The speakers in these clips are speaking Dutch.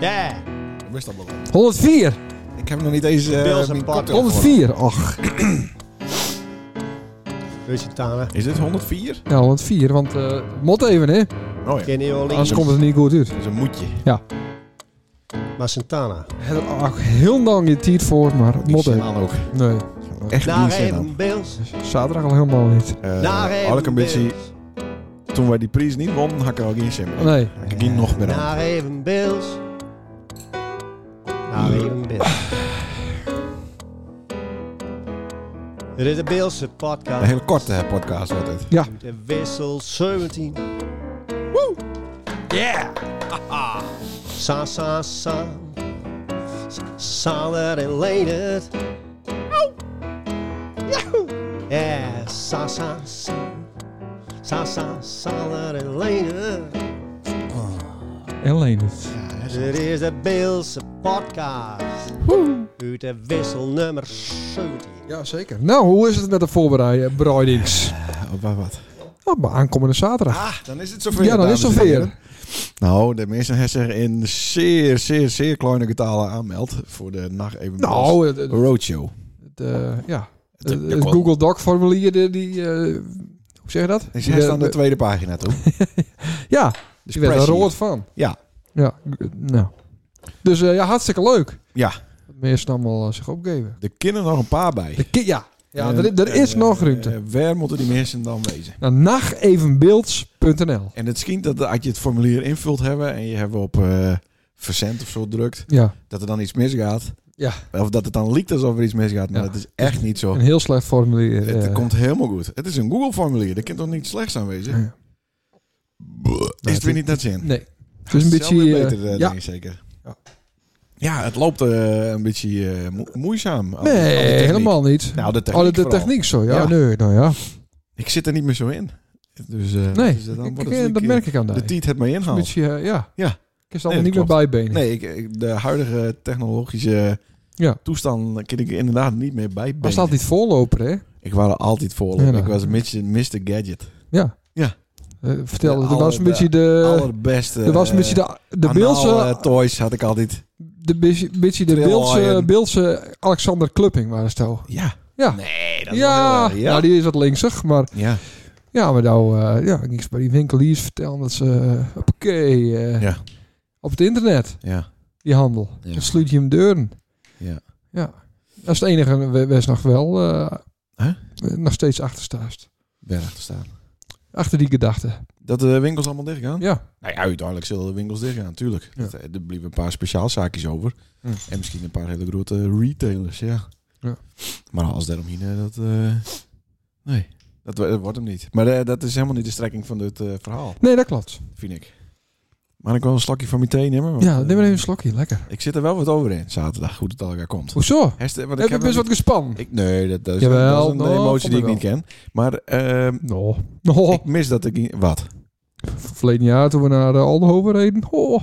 Yeah. Ik wist dat wel. 104. Ik heb nog niet eens eh, Pils en mijn pap. cocktail 104. Och, Dus je talen. voor. Is dit 104? ja, 104. Want eh mot even, hè. Oh ja. Kenny Anders Olin. komt het niet goed uit. Dat is een moetje. Die Maar Santana. Het ach, heel lang je tijd voor, maar mot zin even. aan ook. Nee, Echt Daar niet zin aan. even Bills. zaterdag al helemaal niet. Eh, Daar even had ik een beetje, Bills. toen wij die prijs niet wonnen, had ik er ook geen zin meer in. Nee. Ik ging nog meer aan. Daar even Bills. Daar even Bills. Dit is de Beelse Een podcast. hele korte eh, podcast wordt het. De wissel 17. Woo! Yeah! Sa, sa, sa. Sa- Sander en Leendert. Yahoo! Yeah, sa, sa, sa. Sa, sa, Sander en Leendert. En Lenert. Dit is de Beelse podcast. Uit de wissel nummer 17. Ja, zeker. Nou, hoe is het met de voorbereiding, Broidings? Oh, wat, wat? Oh, maar aankomende zaterdag. Ah, dan is het zover. ja, dan dames is het en heren. zover. Nou, de mensen hebben zich in zeer, zeer, zeer kleine getalen aanmeld voor de nacht even. Nou, het, het- Roadshow. het, eh, ja. Het- Het, de het kwal- Google Doc formulier, die, die, eh, hoe zeg je dat? Hij Die staat aan de werd- tweede pagina toe. ja, Dus die werd er pressie. rood van. Ja. Ja, g- nou. Dus eh, ja, hartstikke leuk. Ja. Dat mensen allemaal eh, zich opgeven. Er kunnen nog een paar bij. De ki- ja, ja er, En, er is eh, nog ruimte. eh, waar moeten die mensen dan wezen? Naar nachtevenbeelds.nl En het schijnt dat als je het formulier invult hebben en je hebt op eh, verzend of zo drukt, Ja, dat er dan iets misgaat. Ja. Of dat het dan liekt alsof er iets misgaat, maar Ja. dat is echt niet zo. een heel slecht formulier. Oh. Het eh. komt helemaal goed. Het is een Google-formulier. Er kan toch niets slechts aanwezig? Ja. Is het het- weer niet naar zin? Nee. Het is een beetje... Zelfde eh, beter, eh, ja. denk ik zeker. Ja. Ja, het loopt eh, een beetje eh, moe- moeizaam. al die- al die nee, techniek. helemaal niet. Nou, de Oh, techniek, de, de vooral. techniek zo, ja. Ja. dus Nee, nou ja. Ik zit er niet meer zo in. Dus, eh, Nee, dus dan ik- wordt ik- het dat een merk ik aan keer- De de tiet het mij Een inhaalt. beetje, eh, ja. Ja. Ik is er Nee, dat allemaal niet meer klopt. bijbenen. Nee, ik, ik- de huidige technologische Ja. toestanden kan ik er inderdaad niet meer bij. Was dat niet voorloper, hè? Ik was er altijd voor. Ja, ik nou. was een beetje Mr. Gadget. Ja. Ja. Eh, vertel, De er was een alle- beetje de... Allerbeste. Eh, Er was een eh, beetje de, Anaal, de eh, Beeldse... toys had ik altijd. De beetje beetje de Trill Beeldse, Lion. Beeldse Alexander Klupping waren ze toch? Ja. Ja. Nee, dat was ja, heel erg, ja. nou, die is wat linksig, maar ja. ja, maar nou, eh, ja, ik ging bij die winkeliers vertellen dat ze, eh, hoppakee, eh, Ja. op het internet, Ja. die handel. Ja. Dan sluit je hem deuren. Ja. Ja. Dat is het enige, we- wees nog wel, eh, Huh? nog steeds achterstaast. Berg te staan. Achter die gedachte. Dat de winkels allemaal dicht gaan? Ja. Nou ja, uiteindelijk zullen de winkels dicht gaan, natuurlijk. Ja. Er blieven een paar speciaalzaakjes over. Hm. En misschien een paar hele grote retailers, ja. Ja. Maar alles daaromheen, eh, dat... eh, nee, dat, wo- dat wordt hem niet. Maar eh, dat is helemaal niet de strekking van dit eh, verhaal, Nee, dat klopt. vind ik. Maar ik wil een slokje van mijn thee nemen. want, Ja, neem eh, maar even een slokje. Lekker. Ik zit er wel wat over in, zaterdag, hoe het al elkaar komt. Hoezo? Hester, want ik Heb je heb best wel wat gespannen? niet- ik, Nee, dat, dat is, Jawel, dat is een nou, emotie die ik niet vond ik Oh. ken. Maar ehm, No. No. ik mis dat ik niet... Wat? Verleden jaar toen we naar uh, Aldenhoven reden. Oh.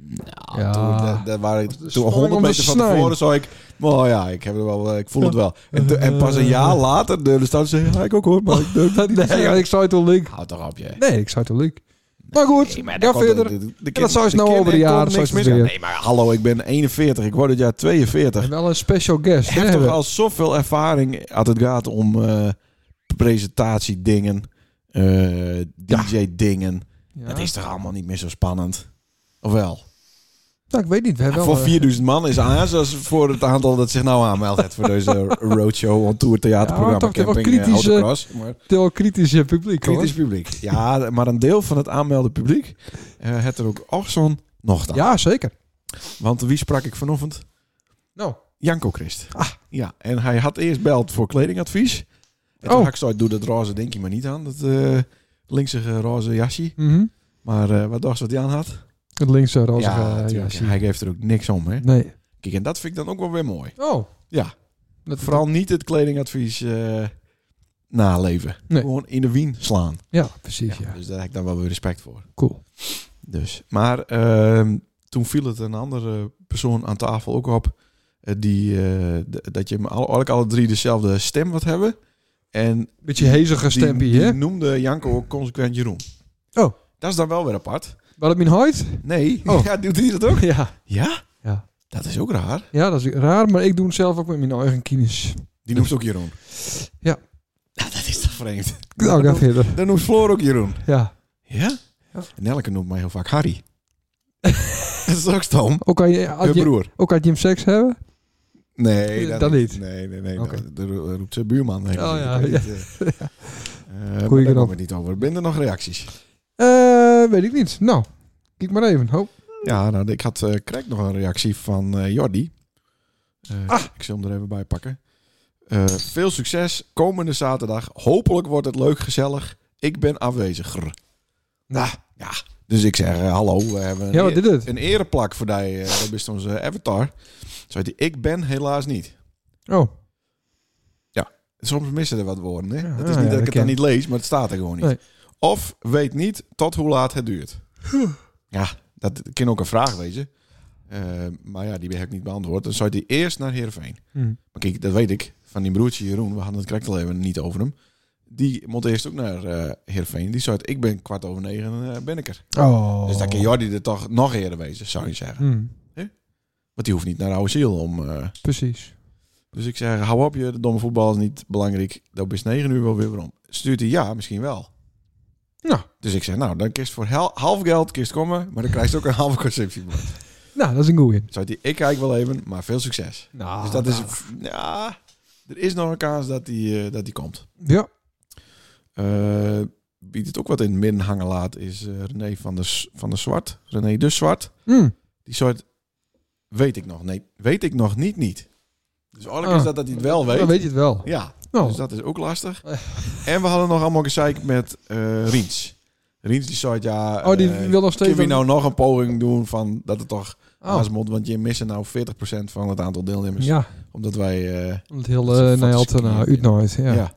Nou, Ja. toen, daar, daar waren ik, Was de toen slang 100 om de meter van snijn. tevoren zei ik... Oh ja, ik, heb er wel, eh, ik voel het wel. En, toen- en pas een jaar later de stad zei... Ja, ik ook hoor, maar ik durf dat niet te Nee, zeggen. ik zou het wel leuk. Houd toch op, je. Nee, ik zou het wel leuk. Maar goed, Nee, maar ga daar komt- verder. de- de- de kind- dat zou eens de nou kind- over de er kon jaren, zou niks ze het mis aan. weer. Nee, maar hallo, ik ben 41. Ik word het jaar 42. En wel een special guest. Ik hè, heb toch hebben. al zoveel ervaring als het gaat om eh, presentatiedingen, eh, DJ-dingen. Ja. Dat is toch allemaal niet meer zo spannend? Of wel? Nou, ik weet niet. We hebben voor wel, eh, 4000 man is aan, zoals voor het aantal dat zich nou aanmeldt het voor deze roadshow, on tour, Ja, theaterprogramma, toch, toch wel camping, eh, kritisch, eh, autocross. Maar Veel kritische publiek, hoor. kritisch publiek. Ja, maar een deel van het aanmelden publiek eh het er ook och zo'n nog dan. Ja, zeker. Want wie sprak ik vanochtend? Nou. Janko Christ. Ah. Ja, en hij had eerst beld voor kledingadvies. En toen Oh. had ik zo, doe dat roze denkje maar niet aan, dat eh linksige roze jasje. Mhm. Maar eh, wat dacht ze wat hij aan had? Het linkse rozige eh, natuurlijk. jasje. hij geeft er ook niks om, hè? Nee. Kijk, en dat vind ik dan ook wel weer mooi. Oh. Ja. Dat Vooral niet het kledingadvies eh, naleven. Nee. Gewoon in de wien slaan. Ja, precies, ja. Dus daar heb ik dan wel weer respect voor. Cool. Dus. Maar ehm, toen viel het een andere persoon aan tafel ook op. eh, die, eh, d- dat je hem al- eigenlijk alle drie dezelfde stem wat hebben. En Beetje hezige die, stempie, die hè? noemde Janko ook consequent Jeroen. Oh. Dat is dan wel weer apart. Waar het mijn huid? Nee. Oh. Ja, doet hij dat ook? Ja. Ja? Ja. Dat is ook raar. ja, dat is raar, maar ik doe het zelf ook met mijn eigen kines. Die noemt ook Jeroen. Ja. Nou, dat is toch vreemd. Nou, ga verder. Dan noemt Floor ook Jeroen. Ja. Ja? Ja. En Elke noemt mij heel vaak Harry. dat is ook stom. Ook had je, Je had je, broer. ook had je hem seks hebben? Nee, Eh, dat niet. Nee, nee, nee. Oké. Dat, dat roept zijn buurman. Nee, Oh, ik ja, weet ja. niet, eh. Eh, maar Goeie daar knop. komen we niet over. Ben er nog reacties? Eh, weet ik niet. Nou, kijk maar even. Ho. Ja, nou, ik had eh krijg nog een reactie van eh, Jordi. Eh, Ah. Ik zal hem er even bij pakken. Eh, veel succes komende zaterdag. Hopelijk wordt het leuk gezellig. Ik ben afwezig. Grr. Nou. ja. Dus ik zeg eh, hallo. We hebben een Ja, eer- wat dit het? een ereplak voor die, eh, dat is onze avatar. Zei hij, ik ben helaas niet. Oh, Soms missen er wat woorden. Hè? Ja, het ja, is niet ja, dat ik dat het dan ken. niet lees, maar het staat er gewoon niet. Nee. Of weet niet tot hoe laat het duurt. ja, dat kan ook een vraag wezen. Eh, maar ja, die heb ik niet beantwoord. Dan zou hij eerst naar Heerenveen. hm. Maar kijk, dat weet ik. Van die broertje Jeroen, we hadden het correct al even niet over hem. Die moet eerst ook naar eh Heerenveen. Die zei, ik ben kwart over negen eh, ben ik er. oh. Dus dan kan Jordi er toch nog eerder wezen, zou je zeggen. Hm, Want die hoeft niet naar oude ziel om... eh, precies. Dus ik zeg, hou op je, de domme voetbal is niet belangrijk. Dat is 9 uur wel weer weer om. Stuurt hij, ja, misschien wel. Nou. Dus ik zeg, nou, dan kist voor hel- half geld, kist komen, maar dan krijg je ook een halve conceptie. Nou, dat is een goeie. Zou hij, ik kijk wel even, maar veel succes. Nou, dus dat is, nou. ja, er is nog een kans dat hij eh, dat die komt. Ja. Eh, wie het ook wat in het midden hangen laat, is eh, René van de, S- van de Zwart. René de Zwart. Hm. Die soort, weet ik nog, nee, weet ik nog niet, niet. Dus eigenlijk Ah. is dat dat hij het wel weet. Dan weet je het wel. Ja, Nou, Dus dat is ook lastig. en we hadden nog allemaal gezeik met eh Riens. Riens die zei, ja, oh, die eh, wil nog steeds... kunnen we dat- nou nog een poging doen van dat het toch Oh. haast moet, want je missen nou 40% van het aantal deelnemers. Ja, Omdat wij, eh, om het heel Dat is eh een Nijaltena fantastisch uit nooit. Ja. ja.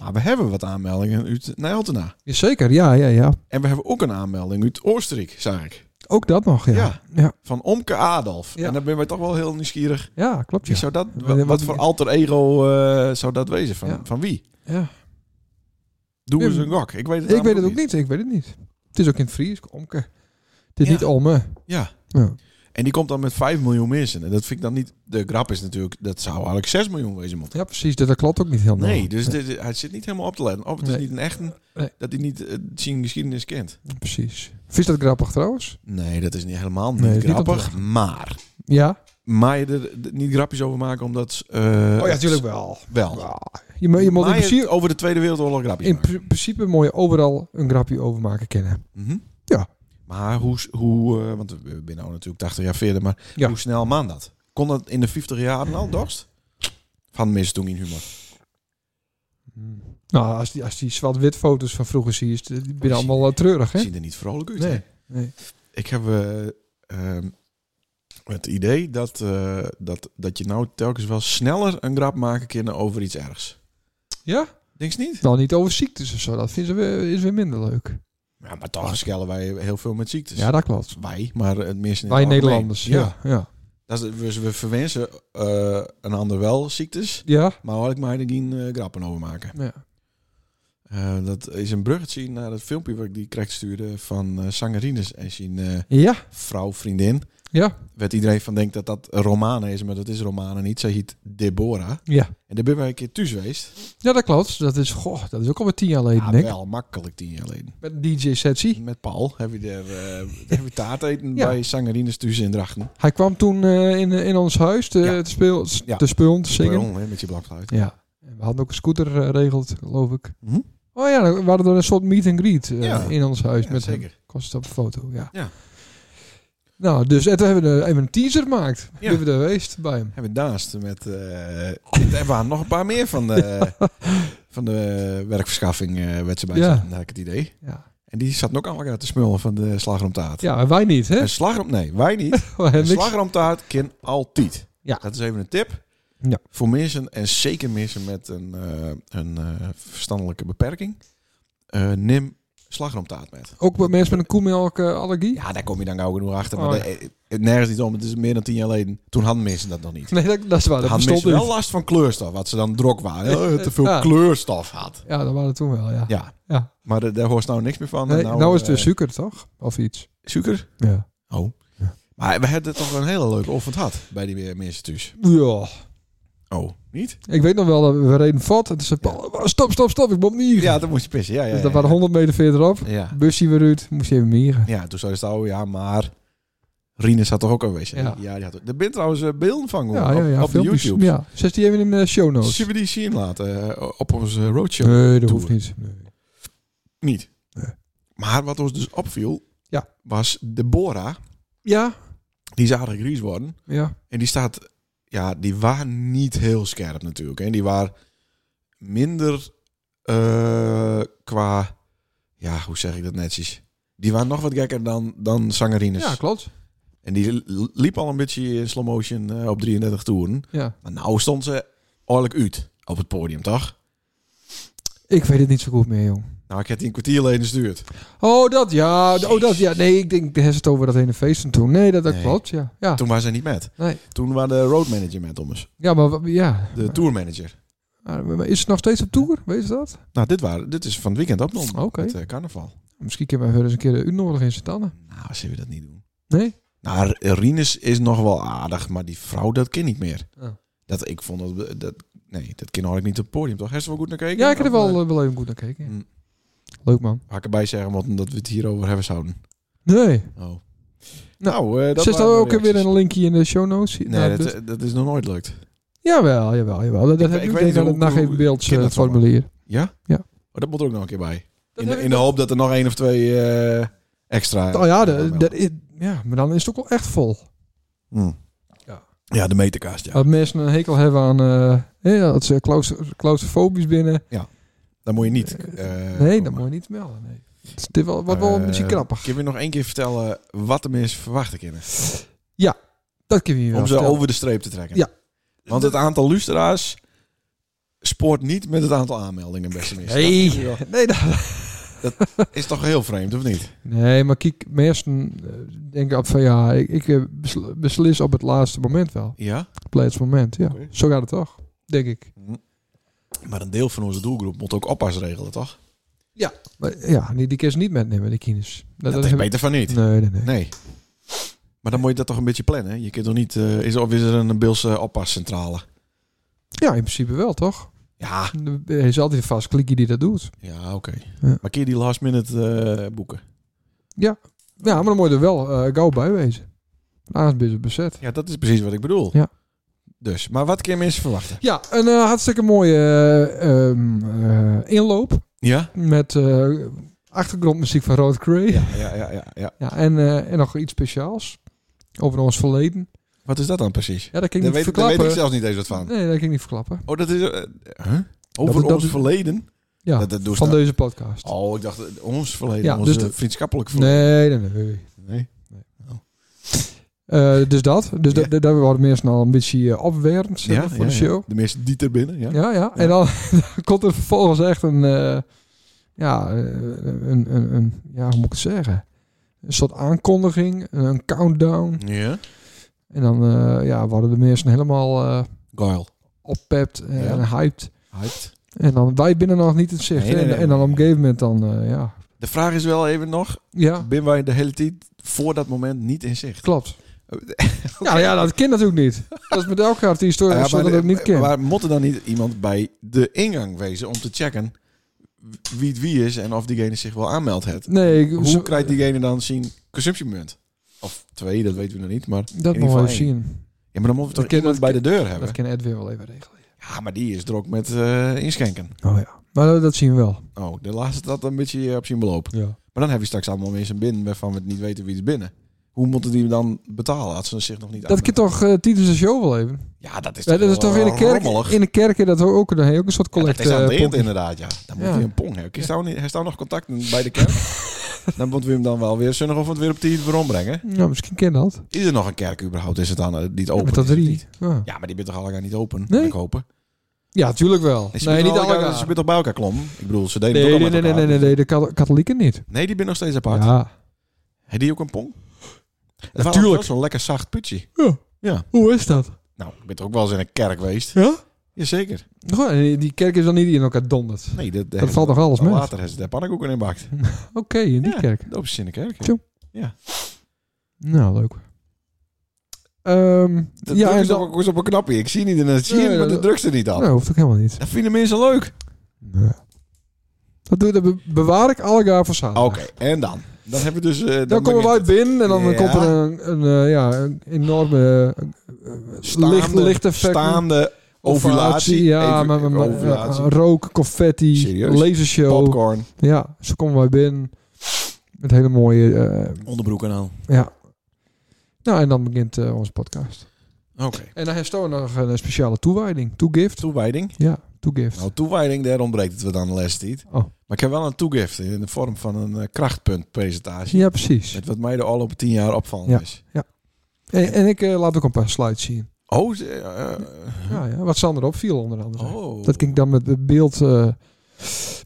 Maar we hebben wat aanmeldingen uit Nijltena. Ja, Zeker, ja, ja, ja. En we hebben ook een aanmelding uit Oostenrijk, zag ik. Ook dat nog, ja. Ja. Ja, ja. Van Omke Adolf. Ja. En dan ben wij toch wel heel nieuwsgierig. klopt. Wie Ja. zou dat, Ja, wat, wat- voor alter ego eh, zou dat wezen? Van, Ja. van wie? Ja. Doen we Ja, eens een gok. Ik weet het, Ik weet namelijk het ook niet, ik weet het niet. Het is ook in het Fries, omke. Het is Ja. niet Olme. Ja. Ja. En die komt dan met 5 miljoen mensen. En dat vind ik dan niet... De grap is natuurlijk, dat zou eigenlijk 6 miljoen wezen moeten. ja, precies, dat dat klopt ook niet helemaal. Nee, dus dit- hij zit niet helemaal op te letten. Of het is Nee. niet een echte, Nee. dat hij niet eh, zijn geschiedenis kent. Precies. Vind je dat grappig trouwens? Nee, dat is niet helemaal niet Nee, het is niet grappig. maar, Ja. maar je er d- niet grapjes over maken, omdat... eh, Oh wel. Wel. Je, mo- je moet in Maar je principe, over de Tweede Wereldoorlog grapjes in maken. pri- principe moet je overal een grapje over maken kennen. Mhm. Ja. Maar hoe, s- hoe eh, want we zijn nou natuurlijk 80 jaar verder, maar Ja. hoe snel man dat? Kon dat in de 50 jaar al, dorst? Van mis toen in humor. Nou, als die, als die zwart-wit foto's van vroeger zie je, is het- die ben je allemaal eh, treurig, hè? Ziet er niet vrolijk uit. hè? Nee. nee. Ik heb eh, ehm, het idee dat, eh, dat, dat je nou telkens wel sneller een grap maken kan over iets ergs. Ja? Denk je niet? Nou, niet over ziektes of zo. Dat vinden ze weer, is weer minder leuk. Ja, maar toch schellen wij heel veel met ziektes. Ja, dat klopt. Wij, maar het meest in het Dus- Wij algemeen. Nederlanders. Ja. Ja. Dat is, dus we verwensen eh, een ander wel ziektes, Ja. maar had ik mij er geen eh, grappen over maken. ja. Eh, dat is een bruggetje naar het filmpje wat ik die krijg stuurde van eh zangerines en zijn eh, Ja. vrouw, vriendin. Ja. Werd iedereen van denkt dat dat Romane is, maar dat is Romane niet. Zij heet Deborah. Ja. En daar ben wij een keer thuis geweest. Ja, dat klopt. Dat is, goh, dat is ook alweer tien jaar geleden, Ja, denk ik. wel makkelijk tien jaar geleden. Met een DJ-sessie. Met Paul heb je daar eh, heb je taart eten Ja. bij Sangerines thuis in Drachten. Hij kwam toen eh, in, in ons huis te, Ja. te, speel, Ja. te spelen, te zingen. Pardon, hè, met je blakfluit. Ja. En we hadden ook een scooter eh, geregeld, geloof ik. Mhm. Oh ja, we hadden er een soort meet and greet eh, Ja. in ons huis Ja, met hem. zeker. Kost op een foto, ja. Ja. Nou, dus en toen hebben we er even een teaser gemaakt. Ja. Ja. Hebben we er geweest bij hem. Hebben we daast met... eh er waren nog een paar meer van de, van de werkverschaffing eh werd ze bij Ja. zitten, had ik het idee. Ja, En die zaten ook allemaal uit te smullen van de slagroomtaart. ja maar wij niet, hè? Een slagroom... Nee, wij niet. Wij hebben Een niks. slagroomtaart kan altijd. Ja. Dat is even een tip. Ja. Voor mensen, en zeker mensen met een, eh, een eh, verstandelijke beperking, eh, neem slagroomtaart met. Ook bij mensen met een koemelkallergie? Ja, daar kom je dan gauw genoeg achter. Maar Oh, de- eh, eh, nergens niet om. Het is meer dan tien jaar geleden. Toen hadden mensen dat nog niet. Nee, dat, dat is waar. Dat hadden bestond mensen wel niet. last van kleurstof, wat ze dan drok waren. Eh, te veel Ja. kleurstof had. Ja, dat waren toen wel, ja. Ja. Ja. Maar de- daar hoort nou niks meer van. En Nee, nou, is het eh, weer suiker, toch? Of iets. Suiker? Ja. Oh. Ja. Maar we hadden toch een hele leuke ochtend gehad bij die eh, mensen thuis. Ja. Oh, niet? Ik weet nog wel, dat we reden vat. En toen zei Paul, Oh, stop, stop, stop, ik moet niet. Ja, dan moest je pissen. Ja, ja, dus ja, dat waren ja. 100 meter verderop. Ja. Busje weer uit, moest je even mieren. ja, toen zei ze al, ja, maar Rines zat toch ook aanwezig? Ja. die had... Er bent trouwens eh, beelden van Ja, ja, op, ja. op de filmpjes. YouTube. Ja. Zet die even in de show notes. Zullen we die zien laten eh, op onze roadshow? Nee, dat Doe hoeft niet. Nee. Niet. Nee. Maar wat ons dus opviel, Ja. was de Bora. Ja. Die is aardig gries worden. Ja. En die staat, ja, die waren niet heel scherp natuurlijk. Hè. Die waren minder eh, qua, ja, hoe zeg ik dat netjes? Die waren nog wat gekker dan, dan zangerines. Ja, klopt. en die li- liep al een beetje in slow motion eh, op 33 toeren. Ja. Maar nou stond ze oorlijk uit op het podium, toch? Ik weet het niet zo goed meer, jong. Nou, ik heb die een kwartier geleden gestuurd. Oh, dat ja. Oh, dat ja. Nee, ik denk, daar is het over dat ene feest en toen. Nee, dat, dat Nee. klopt, ja. Ja, Toen waren ze niet met. Nee. Toen waren de road manager met, Thomas. ja maar wa- ja. De tourmanager. Maar- maar is het nog steeds op tour? Weet je dat? Nou, dit, waren, dit is van het weekend opgenomen. Oh, Oké. Met eh, carnaval. Misschien kunnen we weer eens een keer de uitnodiging in Sint-Anne. Nou, zullen we dat niet doen? Nee? Nou, Rinus is nog wel aardig, maar die vrouw, dat ken ik meer. Ja. Dat ik vond dat, we- dat. Nee, dat ken ik niet op het podium, toch? Heeft ze wel goed naar kijken? Ja, ik heb er Of, wel, eh, eh, wel even goed naar gekeken. ja. Mm. Leuk, man. Had ik erbij zeggen, want dat we het hierover hebben zouden. Nee. Oh. Nou, eh, dat Zit waren daar ook de weer reacties. een linkje in de show notes? Naar Nee, de- dat, dat is nog nooit lukt. Jawel, jawel, jawel. Dat, dat Ik- heb ik ik weet denk niet aan het hoe- hoe- eh, nageefbeeldsformulier. Ja? Ja. Oh, dat moet er ook nog een keer bij. Dat In de, heb in de eh, ik- hoop dat er nog één of twee eh, extra. Oh ja, de, de dat is- ja, maar dan is het ook wel echt vol. Ja. Ja. Hmm. ja, de meterkast, ja. Als mensen een hekel hebben aan... eh, ja, dat ze claustro- claustrofobisch binnen. Dat moet je niet. eh, nee, komen. dat moet je niet melden. Nee. Het is dit wel, wat wel een Eh, beetje krappig. Kun je nog één keer vertellen wat de mensen verwachten kunnen? Dat kun je je wel om ze vertellen. over de streep te trekken. Ja. Want het aantal luisteraars spoort niet met het aantal aanmeldingen, beste mensen. Nee, nee, dat- Dat is toch heel vreemd, of niet? nee, maar kijk, mensen eh, denken op van ja, ik, ik eh, besl- beslis op het laatste moment wel. Ja. Op het laatste moment, ja. Oké. Zo gaat het toch, denk ik. Hm. Maar een deel van onze doelgroep moet ook oppas regelen, toch? Maar ja, die, die kun je niet metnemen, die kines. Dat, is beter van niet. Nee, nee, nee. Nee. Maar dan moet je dat toch een beetje plannen. hè? Je kunt toch niet... eh, is, of is er een Beelse oppascentrale? Ja, in principe wel, toch? Ja. Er is altijd een vast klikje die dat doet. Ja, oké. Ja. Maar kun je die last minute eh, boeken? Ja, maar dan moet je er wel eh, gauw bij wezen. Daarnaast is het bezet. Ja, dat is precies wat ik bedoel. Ja. Dus, maar wat kun je mensen verwachten? Ja, een eh, hartstikke mooie eh, ehm, eh, inloop Ja? met eh, achtergrondmuziek van Road Cray. Ja. Ja, ja, ja, ja, ja. en, eh, en nog iets speciaals over ons verleden. Wat is dat dan precies? Ja, dat kan ik Daar weet, niet daar verklappen. weet ik zelfs niet eens wat van. Nee, dat kan ik niet verklappen. Oh, dat is... eh, huh? Over Dat- dat- ons verleden? Ja, Dat- dat doe ik van nou. deze podcast. Oh, ik dacht eh, ons verleden. Ja, ons dus eh, de- vriendschappelijk verleden. Nee, nee, nee. Nee. Eh, dus dat. Dus Ja. dat dat- daar worden meer snel een beetje uh, opwerend zeg maar, voor de show. De mensen die er binnen, ja. Ja, ja. En dan, dan komt er vervolgens echt een, eh, ja, eh, een, een, een, ja, hoe moet ik het zeggen? Een soort aankondiging, een countdown. Ja. En dan eh, ja, worden de mensen helemaal eh Guile. oppept en Ja. hyped. Hyped. En dan, wij binnen nog niet het zicht. Nee, nee, En- nee, en dan nee. op een gegeven moment dan, eh, ja. De vraag is wel even nog, Ja, ben wij de hele tijd voor dat moment niet in zicht? klopt. Nou Ja, ja, dat kan natuurlijk niet. Dat is met elke artiest hoor, Ja, dat ze dat ook niet maar, kennen. moet er dan niet iemand bij de ingang wezen om te checken wie het wie is en of diegene zich wel aanmeldt het? Nee, ik- Hoe zo- krijgt diegene dan zien consumptiemunt? Of twee, dat weten we nog niet, maar... dat in ieder nog geval even één? zien. Ja, maar dan moeten we Dat ken- toch iemand dat bij de ken- deur hebben? Dat kan Edwin wel even regelen. Ja, maar die is druk met eh, inschenken. Oh ja. Maar dat, dat zien we wel. Oh, de laatste dat een beetje eh, op zien beloop. Ja. Maar dan heb je straks allemaal mensen binnen waarvan we het niet weten wie het binnen. Hoe moeten die dan betalen als ze zich nog niet Dat kan aanmelden? toch eh tijdens de show wel even? Ja, dat is Ja, toch, eh, dat is toch in de kerk, in de kerken dat hoor ook, daar heb je ook een soort collect, collecte. dat is aan het eh, eind pompje. inderdaad, ja. Dan moet Ja. hij een pong hebben. Is daar niet- Heeft daar nog contacten bij de kerk? dan moeten we hem dan wel weer zonnig of het weer op tijd weer brengen. ja, misschien ken dat. Ja, Is er nog een kerk überhaupt? Is het dan eh, die het open met is dat of drie. niet? Ja. Ja, maar die bent toch allemaal niet open? Nee. Ik hopen. ja, tuurlijk wel. Is Nee, niet allemaal. Ze allemaal. zijn toch bij elkaar klom? Ik bedoel, ze deden het Nee, ook nee, al nee, met nee, nee, elkaar. nee, de kat- katholieken niet. Nee, die ben nog steeds apart. Ja. Heb die ook een pong? Het was Natuurlijk. wel Zo'n lekker zacht putje. Hoe is dat? Nou, ik ben toch ook wel eens in een kerk geweest. Ja? Jazeker. Goh, en die- die kerk is dan niet in elkaar donderd. Nee, dat, Nou, Dat valt nog alles mee. eh, Later is de pannenkoeken in bakt. Oké, in die Ja. kerk. Dat is in de kerk. ja. Tjoe. Ja. Nou, leuk. Ehm, Dat ja, druk en is dan, op, een- is op een knopje. Ik zie niet en dan zie je Nee, het, maar dat- de drukste niet af. nee, hoeft ook helemaal niet. Dat vinden mensen leuk. Nee. Dat, doe, dat be- bewaar ik allegaar voor zaterdag. Ah, Oké, en dan? Dan hebben we dus... eh, Dan komen begint wij binnen en dan Ja. komt er een, een, eh, ja, een enorme eh, het. licht, lichteffect. Staande ovulatie. eh, Ja, Even- maar, maar- maar- ovulatie. eh, rook, confetti, Serieus? lasershow. popcorn. Ja, zo komen wij binnen. Met hele mooie... eh, Onderbroek en al. ja. Nou, en dan begint eh, onze podcast. Oké. En dan heeft Stoon nog een eh, speciale toewijding. Toegift. Toewijding. Ja, toegift. Nou, toewijding, daar ontbreekt het wat aan de les niet. Oh. Maar ik heb wel een toegift in de vorm van een eh, krachtpuntpresentatie. Ja, precies. Met wat mij de afgelopen tien jaar opvallend Ja. is. En, en ik eh, laat ook een paar slides zien. Nou Oh, ze- eh, Ja, ja, wat Sander opviel onder andere. oh. Dat kan ik dan met het beeld eh,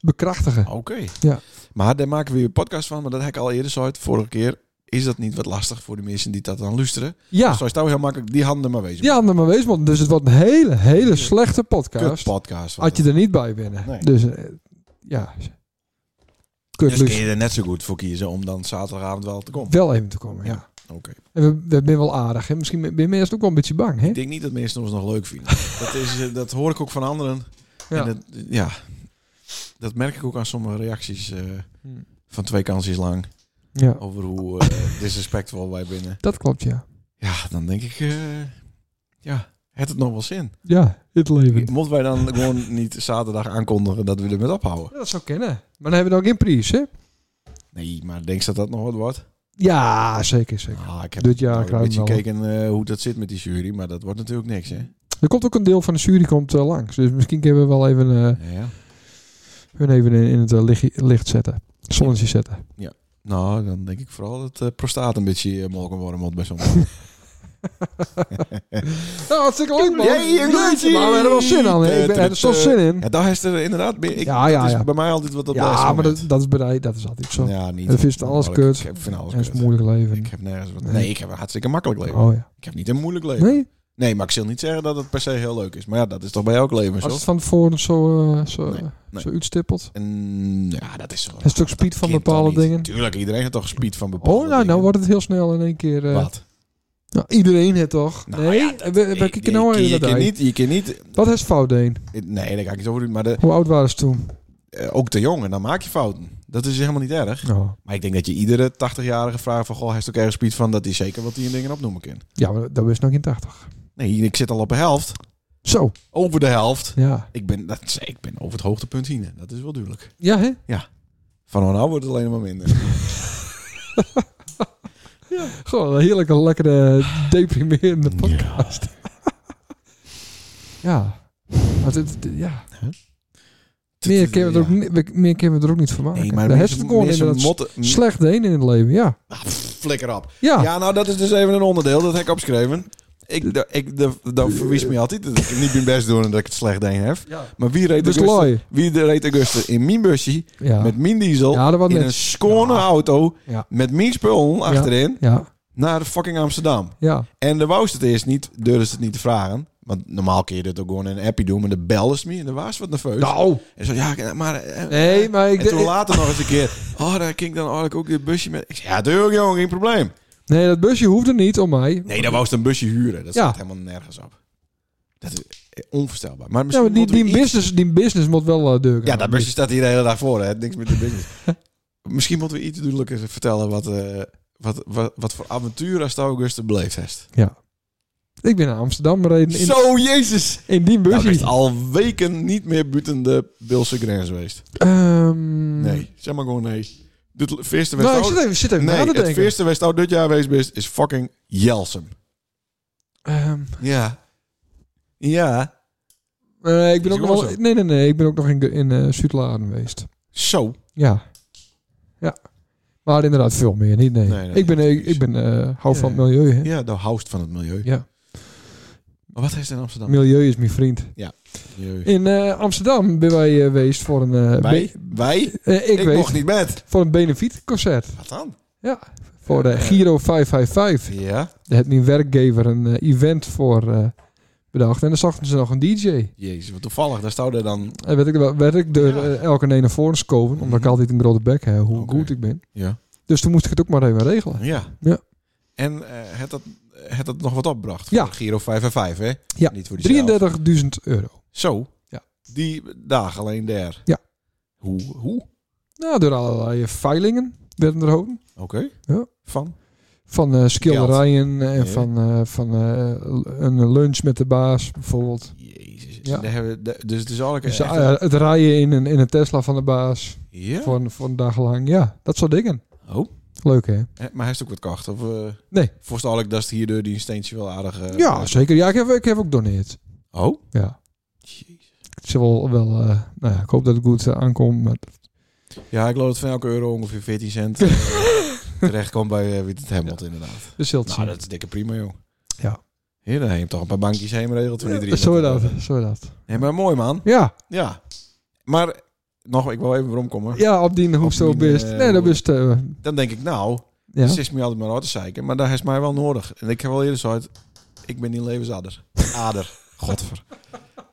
bekrachtigen. Oké. Ja. Maar daar maken we weer een podcast van. Maar dat heb ik al eerder zo uit. Vorige keer is dat niet wat lastig voor de mensen die dat dan luisteren. Ja, Zo is het heel makkelijk. Die handen maar wezen. ja maar wees man. Dus het wordt een hele, hele slechte podcast. Kut podcast. Had je er niet bij binnen. Nee. Dus eh, ja. Kut dus kun Luus. je er net zo goed voor kiezen om dan zaterdagavond wel te komen. Wel even te komen, ja. Oké. En we, we zijn wel aardig. Hè? Misschien ben je eerst ook wel een beetje bang, hè? Ik denk niet dat mensen ons nog leuk vinden. dat, is, eh, dat hoor ik ook van anderen. Ja. En dat, ja. dat merk ik ook aan sommige reacties eh, Hmm. van twee kansjes lang. Ja, Over hoe eh disrespectvol wij binnen. dat klopt, ja. Ja, dan denk ik... eh, ja, het het nog wel zin? Ja, het leven. Moeten wij dan gewoon niet zaterdag aankondigen dat we er met ophouden? Ja, dat zou kennen. Maar dan hebben we nog geen prijs, hè? Nee, maar denk je dat dat nog wat wordt? Ja, zeker, zeker. Ah, ik heb Dit jaar nou een krijgen we beetje wel. gekeken eh, hoe dat zit met die jury, maar dat wordt natuurlijk niks, hè? Er komt ook een deel van de jury komt, eh, langs. Dus misschien kunnen we wel even, eh, Ja. hun even in, in het eh, licht, licht zetten. Zonnetje zetten. Nou, dan denk ik vooral dat eh prostaat een beetje uh, molken worden moet bij zo'n Nou, hartstikke leuk, man. Jee, een Jeetje, glitchie. maar we hebben er wel zin aan, hè? Ik ben- er is toch zin in. Ja, daar is er inderdaad... bij- Ik, Ja, ja, dat is ja. bij mij altijd wat op de Ja, laatste maar dat, moment. dat is bereid. Dat is altijd zo. Ja, niet. Dat is alles Ik- kut. Ik heb van alles en het is kut. een moeilijk leven. Ik heb nergens wat... Nee. Nee, ik heb een hartstikke makkelijk leven. Oh ja. Ik heb niet een moeilijk leven. Nee? Nee? maar ik zal niet zeggen dat het per se heel leuk is. Maar ja, dat is toch bij elk leven zo? Als het van tevoren zo, eh, zo, Nee, nee. zo uitstippelt. En ja, dat is zo. Een stuk speed van Kind bepaalde toch niet? dingen. Tuurlijk, iedereen heeft toch speed van bepaalde Oh, nou, dingen. nou wordt het heel snel in één keer... eh, Wat? nou, iedereen het toch? Nou nee, ja, we, we Ik- kijken nou je- even je, naar kan die. niet, je kan niet... Wat is fout Deen? Nee, daar ga ik niet over doen. Maar de, Hoe oud waren ze toen? eh, ook te jong en dan maak je fouten. Dat is helemaal niet erg. Nou, Maar ik denk dat je iedere 80-jarige vraagt van... Goh, hij is ook ergens speed van dat hij zeker wat die dingen opnoemen kan. ja, maar dat was nog in 80. Nee, ik zit al op de helft. Zo, Over de helft. ja. Ik ben, dat, is- ik ben over het hoogtepunt heen. Dat is wel duidelijk. Ja, hè? Van nou wordt het alleen maar minder. Gewoon een heerlijke, lekkere, deprimerende podcast. Ja. Maar dit- dit- ja. Meer kunnen we er ook, ni- we- meer kunnen we er ook niet van maken. Nee, maar Daar heeft mensen- het gewoon mensen inderdaad motten- slecht Deen in het leven, ja. Ah, pff, Flikker op. Ja, Ja, nou, dat is dus even een onderdeel. Dat heb ik opgeschreven. Ik, da- ik, da- dan verwies me altijd dat ik niet mijn best doe en dat ik het slecht deed heb. Maar wie reed, dus Augusta, looi. wie de- reed Augusta in mijn busje Ja. met mijn diesel ja, dat was in net. een schone Ja. auto Ja. met mijn spullen achterin Ja, naar fucking Amsterdam? ja. En de wou ze het eerst niet, durfde ze het niet te vragen. Want normaal kun je dit ook gewoon in een appie doen, maar de belde ze me en dan was ze wat nerveus. Nou. En zo, ja, ik- maar... eh, Nee, maar ik... en toen ik- later nog eens een keer, oh, daar ging ik dan eigenlijk ook dit busje met. Ik zei, ja, tuurlijk jongen, geen probleem. Nee, dat busje hoefde niet om mij. Nee, dan wou ze een busje huren. Dat Ja. staat helemaal nergens op. Dat is onvoorstelbaar. Maar Ja, misschien maar die, moeten we die, iets- business, die business moet wel eh, deuken. Ja, dat busje staat hier de hele dag voor. Hè. Niks met de business. misschien moeten we iets duidelijker vertellen wat, eh, wat, wat, wat voor avontuur als Augusta beleefd heeft. Ik ben naar Amsterdam gereden in, Zo, jezus! in die Nou, busje. is al weken niet meer buiten de Bilse grens geweest. Ehm, Nee, zeg maar gewoon nee. Dit eerste Nou, ik zit West even, zit even na Nee, te het denken. eerste West dit jaar geweest is, is fucking Jelsum. Ehm, Ja. Ja. eh, ik ben Is het ook nog wel, wel zo? nee, nee, nee. Ik ben ook nog in, Ge- in eh, Zuidlaren geweest. Zo. Ja. Ja. Maar inderdaad veel meer, niet nee. Nee, nee, ik ben, nee, ik, ik ben eh, hou Ja, van het milieu, hè. Ja, de houst van het milieu. Ja. Maar wat heeft in Amsterdam? Milieu is mijn vriend. Milieu. In eh, Amsterdam ben wij eh, geweest voor een... eh, Wij? be- Wij? Ik, eh, ik mocht weet, niet met. voor een benefietconcert. Wat dan? Voor de Giro 555. Ja. Daar had mijn werkgever een eh, event voor eh, bedacht. En dan zochten ze nog een DJ. Jezus, wat toevallig. Daar stond er dan... En werd ik, wel- werd ik door Ja. eh, elke een naar voren geschoven, omdat ik Mhm. altijd een grote bek heb, hoe Oké. goed ik ben. Ja. Dus toen moest ik het ook maar even regelen. Ja. Ja. En eh, het, dat, het dat nog wat opbracht. Ja. Voor Giro 5 en 5, hè? Ja. Niet voor die 33.000 euro. Zo. Ja. Die dag alleen daar. Ja. Hoe? Hoe? Nou, door allerlei veilingen werden er hopen. Oké. Ja. Van? Van eh, schilderijen en Ja. van, eh, van eh, een lunch met de baas bijvoorbeeld. Jezus. Ja. Daar hebben we, daar- dus het is eigenlijk... Dus, echt eh, het rijden in een, in een Tesla van de baas een- ja? voor, een, voor een dag lang. Ja, dat soort dingen. Oh. Leuk hè? Eh, Maar hij is ook wat kacht. Of, eh, Nee. Voorstel ik dat het hierdoor die een steentje wel aardig... eh, Ja, zeker. Ja, ik heb, ik heb ook doneerd. Oh. Ja. Jezus. Het is wel, wel eh, nou ja, ik hoop dat het goed eh, aankomt. Maar Ja, ik geloof dat van elke euro ongeveer 14 cent eh, terecht komt bij eh, wie het hemelt, inderdaad. we zullen het Nou, zien. dat is dikke prima, joh. Ja. Hier, dan heb je toch een paar bankjes heen regelt voor die drie. zo Eh, dat, zo dat. Nee, maar mooi, man. Ja, Ja. Maar, nog, ik wil even rondkomen. ja, op die hoek zo die, best. eh, Nee, dat best. eh, Dan denk ik, nou, ja. Ze is me altijd maar uit te zeiken, maar daar is mij wel nodig. En ik heb wel eerder zo uit, ik ben niet levensader. Ader. Godver.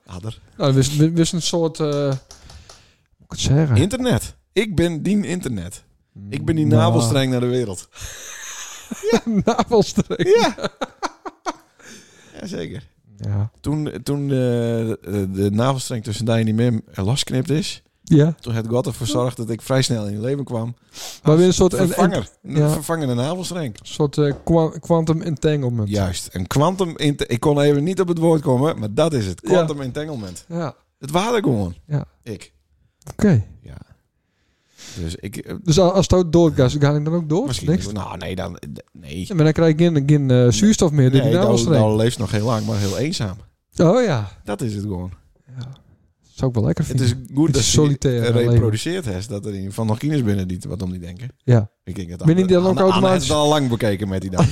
Ader. Nou, dat is- dat is een soort. eh, hoe moet ik het zeggen? Internet. Ik ben die internet. Ik ben die navelstreng naar de wereld. Nou, navelstreng. Ja. Jazeker. Ja. Toen, toen eh, de, de navelstreng tussen Dijn en die Mim eh, losknipt is, ja. toen had God ervoor zorgd dat ik vrij snel in je leven kwam. Maar weer een soort. Een, een- Vervanger. ja. Een vervangende navelstreng. soort eh, kwa- quantum entanglement. Juist. Een quantum... inte- Ik kon even niet op het woord komen, maar dat is het. Ja. Quantum entanglement. Ja. Oké. Het waren er gewoon. Ja. Ik. Ja. Dus ik... eh, Dus als het ook doorgaat, ga ik dan ook door? misschien... Niks. Nou, nee, dan... d- Nee. Ja, maar dan krijg ik geen, geen eh, zuurstof meer door Nee, die dan, navelstreng. dan leeft nog heel lang, maar heel eenzaam. Oh ja. Dat is het gewoon. ja. Zou ik wel lekker Het vinden. is goed Het dat is ze solitair, eh, leven. reproduceert is. Dat er in van nog kines binnen die wat om die denken. Ja. Ik denk dat Ben je die dan ook Anne- Anne automatisch- heeft het al lang bekeken met die dan.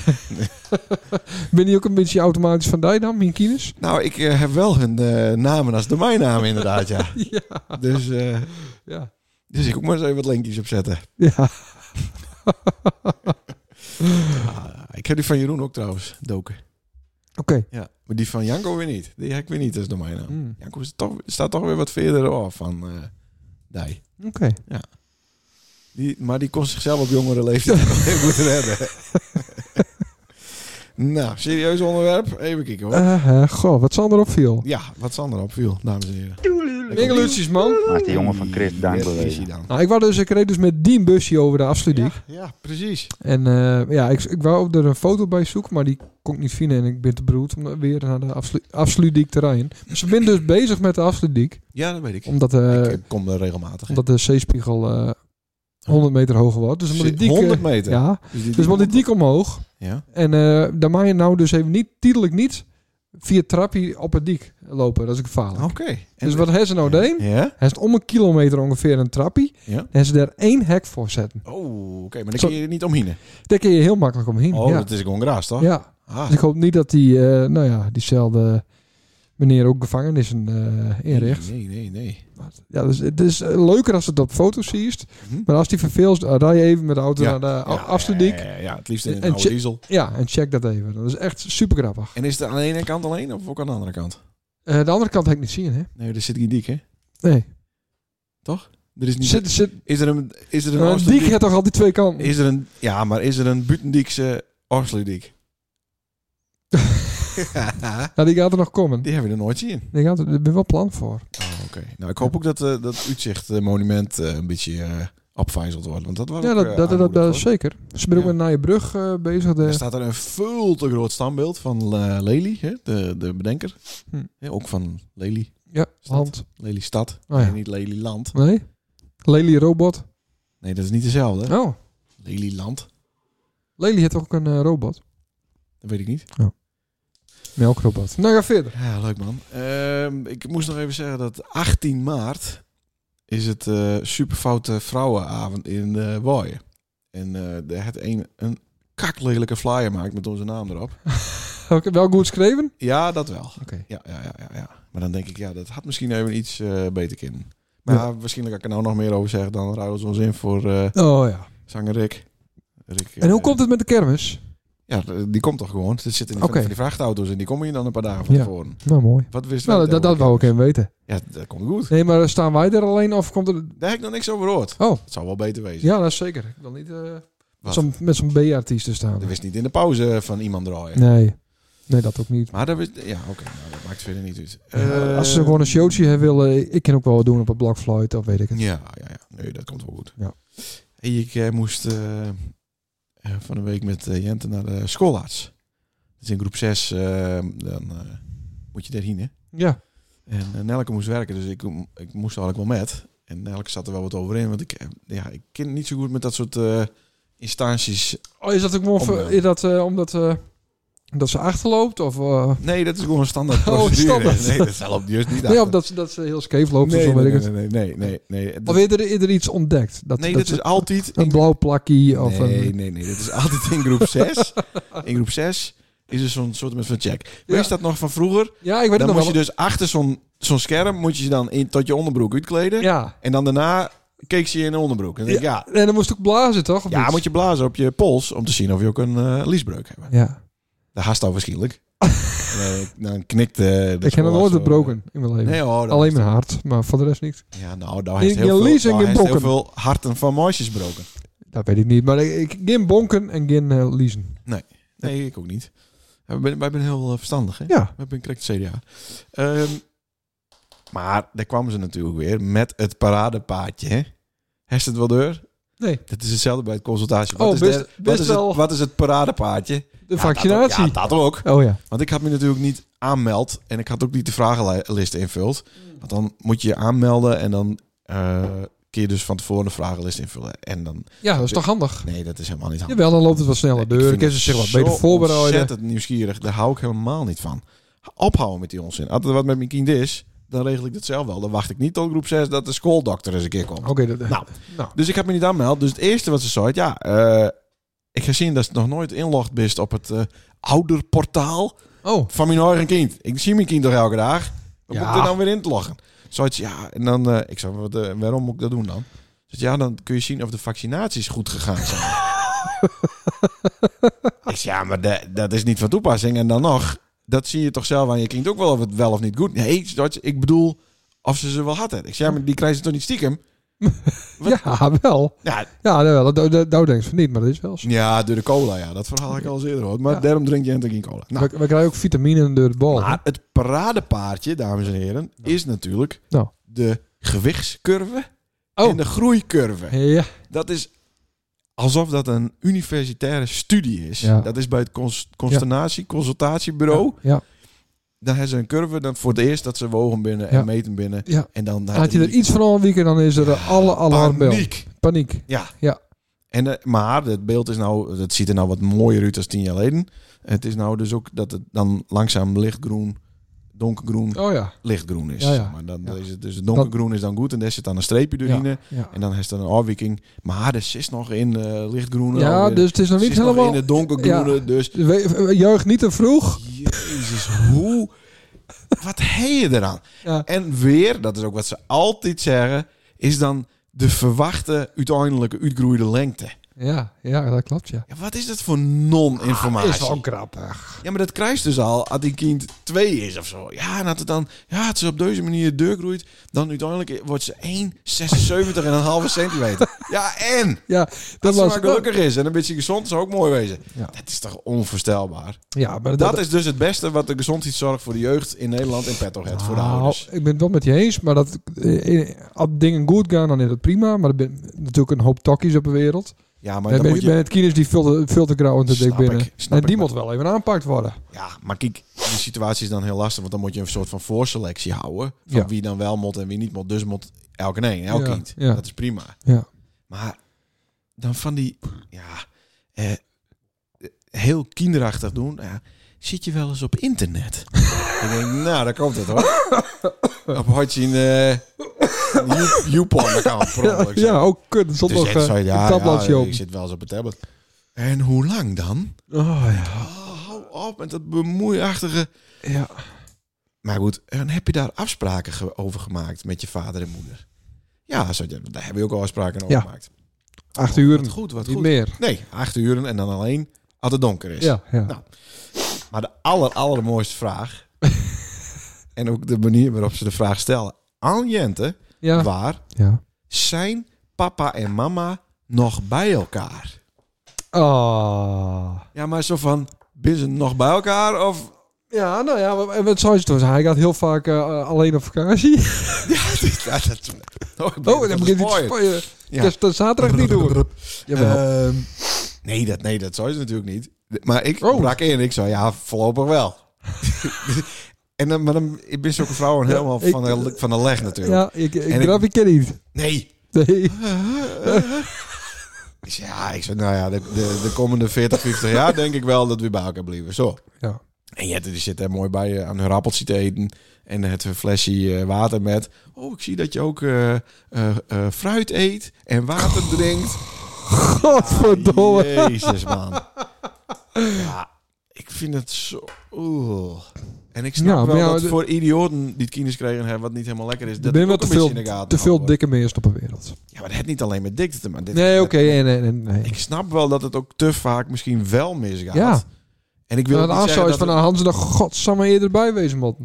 Ben je ook een beetje automatisch van Dijnam, in kines? nou, ik eh, heb wel hun eh, namen als domeinnaam inderdaad, ja. Ja. Dus, eh, Ja. dus ik ook maar eens even wat linkjes opzetten. Ja. Ah, ik heb die van Jeroen ook trouwens, doken. Oké. Ja. Mm. Maar die van Janko weer niet. Die heb ik weer niet als domeinnaam. Hmm. Janko is toch, staat toch weer wat verder af van eh Dij. Oké. Die, maar die kon zichzelf op jongere leeftijd nog even moeten redden. nou, serieus onderwerp. Even kijken hoor. Eh, eh, goh, wat zal er opviel? Ja, wat Sander opviel, dames en heren. Engelutjes, man. Maar is de jongen van Chris Dank Ja, bewezen. visie dan. Nou, ik, wou dus, ik reed dus met die busje over de afsluitdijk. Ja, ja, precies. En eh, ja, ik, ik wou er een foto bij zoeken, maar die kon ik niet vinden. En ik ben te beroerd om er weer naar de afslu afsluitdijk te rijden. Maar ze zijn dus bezig met de afsluitdijk, Ja, dat weet ik. omdat, eh, ik eh, kom er regelmatig in. omdat de zeespiegel eh 100 meter hoger wordt. Dus dan moet die diek, eh, 100 meter. Ja, Dus die, dus moet die diek omhoog. Ja. En eh daar mag je nou dus even niet, tijdelijk niet, via het trapje op het diek lopen. Dat is gevaarlijk. Oké. Oh, En- dus wat hebben ze nou deed? Ja? Hij is om een kilometer ongeveer een trappie. Ja. En ze daar één hek voor zetten. Oh, oké. Maar dan Zo- kun je er niet omheen. Daar kun je heel makkelijk omheen. Oh, ja. dat is gewoon graas, toch? ja. Ah, Dus ik hoop niet dat die, eh, nou ja, diezelfde meneer ook gevangenissen eh inricht. Nee, nee, nee. Ja, dus het is eh, leuker als het op foto's ziet. Mhm. Maar als die verveelt, eh, rij je even met de auto Ja. naar de Ja, ja, afstuurdiek. Ja, Ja, ja, ja, het liefst in een En- en oude che- diesel. en check dat even. Dat is echt super grappig. En is het aan de ene kant alleen of ook aan de andere kant? Eh, de andere kant heb ik niet zien, hè? Nee, er zit geen dik, hè? Nee. Er is niet... Zit, zit, Is er een, is er een, een Oosterdiek- diek heeft toch al die twee kanten? Is er een, ja, maar is er een Butendiekse Orsludiek? Nou, die gaat er nog komen. Die hebben we er nooit zien. Die gaat er, er ben wel plan voor. Oh, Oké. Nou, ik hoop ook dat eh, dat Utrecht eh, monument eh, een beetje eh opvijzeld wordt, want dat was Ja, ook, dat, eh, dat, dat, dat, aanmoedig, hoor. is zeker. Ze ben ook Ja. met Nije Brug eh, bezig. Er De, staat er een veel te groot standbeeld van eh, Lely, hè, de, de bedenker. Hm. Ja, ook van Lely, ja, staat- hand. Lelystad. Oh, ja. En niet Lelyland. Nee? Lely Robot. Nee, dat is niet dezelfde. Oh, Lelyland, Lely heeft toch ook een eh, robot? dat weet ik niet. Melkrobot. Nou, ga verder. Ja, leuk man. Ehm, ik moest nog even zeggen dat 18 maart is het eh superfoute vrouwenavond in eh Waaien. En eh daar had een, een kaklelijke flyer maakt met onze naam erop. Heb ik het wel goed geschreven? Ja, dat wel. Oké. Ja, ja, ja, ja, ja. Maar dan denk ik, ja, dat had misschien even iets eh, beter kunnen. Maar Ja. ja, waarschijnlijk kan ik er nou nog meer over zeggen. Dan ruilen ze ons in voor eh, Oh ja. zanger Rick. Rick, En hoe eh, komt het met de kermis? Ja, eh, die komt toch gewoon. Er zitten Oké. van die vrachtauto's en die komen hier dan een paar dagen van Ja. tevoren. Nou, mooi. Wat wist Nou, wij dat, dat, daarover? wou ik even weten. Ja, dat komt goed. Nee, maar staan wij er alleen of komt er... Daar heb ik nog niks over gehoord. Oh. Het zou wel beter wezen. Ja, dat is zeker. Ik wil niet... eh, Wat? Zo'n- met zo'n B-artiest te staan. Dat wist niet in de pauze van iemand draaien. Nee. Nee, dat ook niet. Maar dat wist... Ja, oké. nou, dat maakt verder niet uit. Ja, Eh, Als ze gewoon een showtje hebben willen, ik kan ook wel wat doen op een blokfluit, of weet ik het. Ja, ja, ja. Nee, dat komt wel goed. Ja. Hey, ik eh, moest eh, eh, van de week met eh, Jente naar de schoolarts. Dus in groep 6 dan eh, moet je daarheen, hè? Ja. En eh, Nelke moest werken, dus ik, ik moest eigenlijk wel met. En Nelke zat er wel wat over in, want ik, eh, ja, ik ken niet zo goed met dat soort eh, instanties. Oh, is dat ook gewoon Om, voor- eh, is dat, eh, omdat, eh, omdat ze achterloopt? Of, eh, Nee, dat is gewoon een standaard Oh, procedure. standaard. Nee, dat helpt juist niet. nee, achter. of dat, ze- dat ze heel scheef loopt nee, of zo, nee, weet ik nee, het. nee, nee, nee, nee. Dat- Of is er, is er iets ontdekt? Dat, nee, dat dat is ze- altijd... een blauw plakje of nee, een... nee, nee. Dat is altijd in groep 6. In groep 6 is er zo'n soort van check. Weet Ja. je dat nog van vroeger? Ja, ik weet Dan het moet je nog wel. dus achter zo'n zo'n scherm... moet je je dan in, tot je onderbroek uitkleden. Ja. En dan daarna keek ze je in de onderbroek. En dan denk ik, ja, En dan moest ook blazen, toch? Of Ja, niet? moet je blazen op je pols om te zien of je ook een eh, liesbreuk hebt. Ja. Dat haast al waarschijnlijk. En, eh, dan knikt eh, de Ik heb nog school nooit zo, gebroken in mijn eh, leven. Nee hoor. dat Alleen is- mijn hart, maar voor de rest niet. Ja, nou, daar heeft Ik heel, lees en veel, daar heeft heel gebokken. veel harten van meisjes broken. Dat weet ik niet. Maar ik, ik geen bonken en geen eh, leasen. Nee, ik ook niet. Ja, wij, zijn wij zijn heel eh, verstandig, hè? Ja. We hebben een correct CDA. Ehm, maar daar kwamen ze natuurlijk weer met het paradepaadje, hè? Heeft het wel deur? Nee, Dat is hetzelfde bij het consultatie. Wat, Oh, is, best- de- wat, best is, het, wel- wat is het paradepaadje? de Ja, vaccinatie. Dat, ja, dat ook. oh ja. Want ik had me natuurlijk niet aanmeld en ik had ook niet de vragenlijst invuld. Want dan moet je je aanmelden en dan eh kun je dus van tevoren de vragenlijst invullen. En dan, Ja, dat is toch handig? nee, dat is helemaal niet handig. Jawel, dan loopt het wel sneller. Ik Deur, vind dan kunnen ze het zich wat zo beter voorbereiden. ontzettend nieuwsgierig, daar hou ik helemaal niet van. Ophouden met die onzin. Als er wat met mijn kind is, dan regel ik dat zelf wel. Dan wacht ik niet tot groep 6 dat de schooldokter eens een keer komt. Oké, dat, Nou. nou. Dus ik had me niet aanmeld. Dus het eerste wat ze zei, ja, eh, ik heb gezien dat ze nog nooit inlogd bent op het eh, ouderportaal Oh, van mijn eigen kind. Ik zie mijn kind toch elke dag. Wat Ja. moet ik er dan weer in te loggen? Zoiets, ja. En dan, eh, ik zei, wat, eh, waarom moet ik dat doen dan? Zegt, ja, dan kun je zien of de vaccinaties goed gegaan zijn. ik zeg, ja, maar de- dat is niet van toepassing. En dan nog, dat zie je toch zelf aan je kind ook wel of het wel of niet goed. Nee, George, ik bedoel, of ze ze wel hadden. Ik zeg, ja, maar die krijgen ze toch niet stiekem? Wat? ja, wel. Ja, Ja, dat wel. Dat, dat, dat denk ik van niet, maar dat is wel zo. ja, door de cola, ja. Dat verhaal had ik al eens eerder hoor. Maar Ja. daarom drink je natuurlijk geen cola. Nou, we, we krijgen ook vitamine door de bal. Maar het paradepaardje, dames en heren, is natuurlijk Nou. de gewichtscurve Oh. en de groeicurve. ja. Dat is alsof dat een universitaire studie is. Ja. Dat is bij het cons- consternatie, consultatiebureau. Ja. Dan hebben ze een curve dan voor het eerst dat ze wogen binnen en Ja. meten binnen. ja. En dan Had je er iets van al weken, dan is er eh, alle alarmbel. Nou, paniek. Paniek. Ja. Ja. En, eh, maar het beeld is nou, het ziet er nou wat mooier uit als tien jaar geleden. Het is nou dus ook dat het dan langzaam lichtgroen, donkergroen, Oh ja. lichtgroen is. Ja, ja. zeg Maar dan, dan Ja. is het, dus het donkergroen is dan goed en daar zit dan een streepje doorheen. Ja. Ja. En dan is er een afwijking. Maar er zit nog in eh lichtgroene. ja, alweer. dus het is nog Zit niet helemaal... in het donkergroene. Ja. Dus We- we- Juich niet te vroeg. jezus, hoe... Wat heb je eraan? Ja. En weer, dat is ook wat ze altijd zeggen, is dan de verwachte uiteindelijke uitgroeide lengte. Ja, ja dat klopt, ja. Ja, wat is dat voor non-informatie? Ah, Is wel grappig. Ja, maar dat krijgt dus al als die kind twee is of zo. Ja, en dat het dan, ja, het ze op deze manier deur groeit, dan uiteindelijk wordt ze 1,76 en een halve centimeter. Ja, en Ja, dat dat ze was maar gelukkig is en een beetje gezond zou ook mooi wezen. Ja. Dat is toch onvoorstelbaar. Ja, maar Dat is dus het beste wat de gezondheidszorg voor de jeugd in Nederland in petto heeft voor de Nou, ouders. Ik ben het wel met je eens, maar dat eh, als dingen goed gaan, dan is dat prima. Maar er ben natuurlijk een hoop tokkies op de wereld. Ja, Maar maar ben, dan moet ben je... het kines die veel te, veel te grauw en te Snap dik binnen. ik, snap en die ik, moet wel even aangepakt worden. Ja, maar kijk, die situatie is dan heel lastig, want dan moet je een soort van voorselectie houden van Ja. wie dan wel moet en wie niet moet. Dus moet elke een, elk Ja, kind. ja. Dat is prima. Ja. Maar dan van die, ja, eh, heel kinderachtig doen. Ja, zit je wel eens op internet? ik denk, nou, daar komt het hoor. op eh, had je een uh, YouPorn-account, per Ja, ongeluk. ja, ook kut. Zondag dus eh, ik zei, een ja, tabbladje ja, open. ik zit wel eens op een tablet. En hoe lang dan? Oh, ja. Oh, hou op met dat bemoeiachtige... ja. Maar goed, en heb je daar afspraken ge- over gemaakt met je vader en moeder? Ja, zei je, daar hebben we ook al afspraken over Ja. gemaakt. Acht uur, Wat goed, wat niet goed. meer. Nee, acht uren en dan alleen als het donker is. Ja, ja. Nou. Maar de aller, allermooiste vraag, en ook de manier waarop ze de vraag stellen aan Jente, ja. waar ja. zijn papa en mama nog bij elkaar? Oh. Ja, maar zo van, ben ze nog bij elkaar? Of Ja, nou ja, en wat zou je doen? Hij gaat heel vaak eh, alleen op vakantie. Ja, dat, oh, ik ben- Oh, dan dat begint is hij te mooi. spooien. Ja. Dat is dat zaterdag niet doen. Jawel. Ehm, nee, dat, nee, dat zou je natuurlijk niet. Maar ik Oh. brak in en ik zei, ja, voorlopig wel. en dan, maar dan ik ben zo'n vrouw en Ja, helemaal ik- van, de, van de leg natuurlijk. Ja, ik, ik En ik- grap je ken niet. Nee. Nee. Ik zei, ja, ik zei, nou ja, de, de, de komende 40, 50 jaar denk ik wel dat we bij elkaar blijven. Zo. Ja. En Jette die zit er mooi bij eh, aan hun appeltje te eten. En het flesje eh, water met. Oh, ik zie dat je ook eh, eh, eh, fruit eet en water Oh. drinkt. Godverdomme. Jezus, man. Ja, ik vind het zo... Oeh. En ik snap Ja, maar wel ja, dat de- voor idioten die het kinders kregen hebben... wat niet helemaal lekker is, Er dat zijn het wel ook te een beetje veel, in de gaten te veel houden. dikke mensen op de wereld. Ja, maar het heeft niet alleen met dikte te maken. Dit- Nee, dit- oké. nee, nee, nee, nee. Ik snap wel dat het ook te vaak misschien wel misgaat. Ja. En ik wil Wil ook het niet zeggen afsluit dat... van het- nou, Hans, dan godsamme eerder bij wezen, man.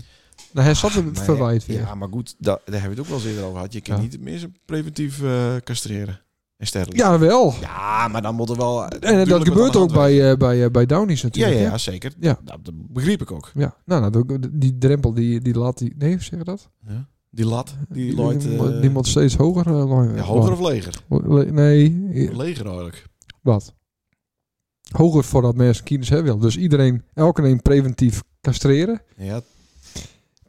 Nou, hij zat er Nee, verwijt weer. Ja, maar goed, da- daar hebben we het ook wel eens eerder over gehad. Je kan Ja. niet mensen preventief eh, castreren en sterren. Ja, wel. Ja, maar dan moet er wel... En eh, dat gebeurt ook bij, eh, bij, eh, bij Downies Ja, natuurlijk. ja, hè? ja, zeker. Ja. Dat dat begreep ik ook. Ja, nou, nou dat- die drempel die, die laat die. Nee, hoe zeg je dat? Die lat, die looit... die, eh, die moet steeds hoger. eh, looien. Ja, hoger of leger? Le- Nee, eh, Leger eigenlijk. wat? Hoger voordat mensen kinders hebben wil. Dus iedereen, elke een preventief castreren. Ja,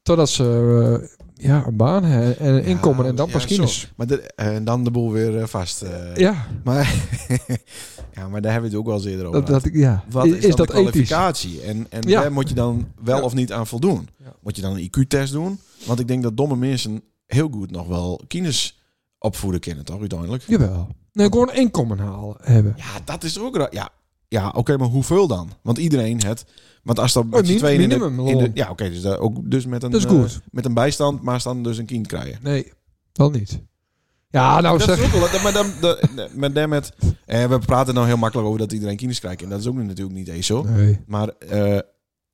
Totdat ze eh, ja, een baan hebben en een Ja, inkomen en dan ja, pas kinders. maar de- en dan de boel weer eh, vast. eh. Ja, Maar, ja, maar daar hebben we het ook wel eens eerder over. dat, dat, gehad. ik- ja. Wat is, is, dan dat de ethisch? kwalificatie? En, en Ja. daar moet je dan wel Ja. of niet aan voldoen? Ja. Moet je dan een IQ-test doen? Want ik denk dat domme mensen heel goed nog wel kinders opvoeden kennen, toch uiteindelijk? Jawel. Nee, gewoon een inkomen halen hebben. Ja, dat is er ook... ra- Ja, ja oké, maar hoeveel dan? Want iedereen het... Want als dan met z'n Oh, min- tweeën in de- minimum, in de... lol. Ja, oké, dus, daar ook dus met een... Dat is eh, goed. met een bijstand, maar ze dan dus een kind krijgen. Nee, wel niet. Ja, nou dat zeg. is ook wel, maar dan, dan- maar dan met, eh, we praten nou heel makkelijk over dat iedereen kinderen krijgt. En dat is ook natuurlijk niet eens zo. Nee. Maar eh,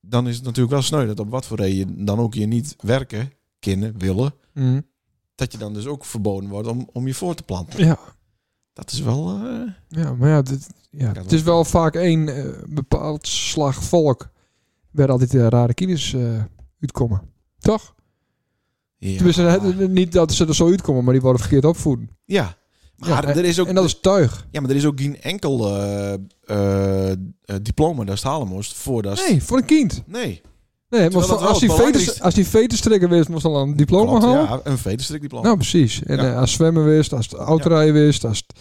dan is het natuurlijk wel sneu dat op wat voor reden dan ook je niet werken, kunnen, willen. Mm. Dat je dan dus ook verboden wordt om, om je voor te planten. Ja. Dat is wel... eh, Ja, maar ja, dit, ja. Kan het is wel vaak één eh, bepaald slag volk waar altijd eh, rare kines eh, uitkomen. Toch? ja. Tenminste, het- niet dat ze er zo uitkomen, maar die worden verkeerd opvoeden. ja. Maar, Ja, er is ook, En dat is tuig. ja, maar er is ook geen enkel eh, eh, eh, diploma dat ze halen moest voordat ze- Nee, voor een kind. Nee. Nee, maar dat voor- wel als, die het vetus, belangrijkste- als die vetestrikker wist, moest dan een diploma Klopt, halen. ja, een veterstrik diploma. Nou, precies. En Ja. eh, als zwemmen wist, als het autorijden wist, als het,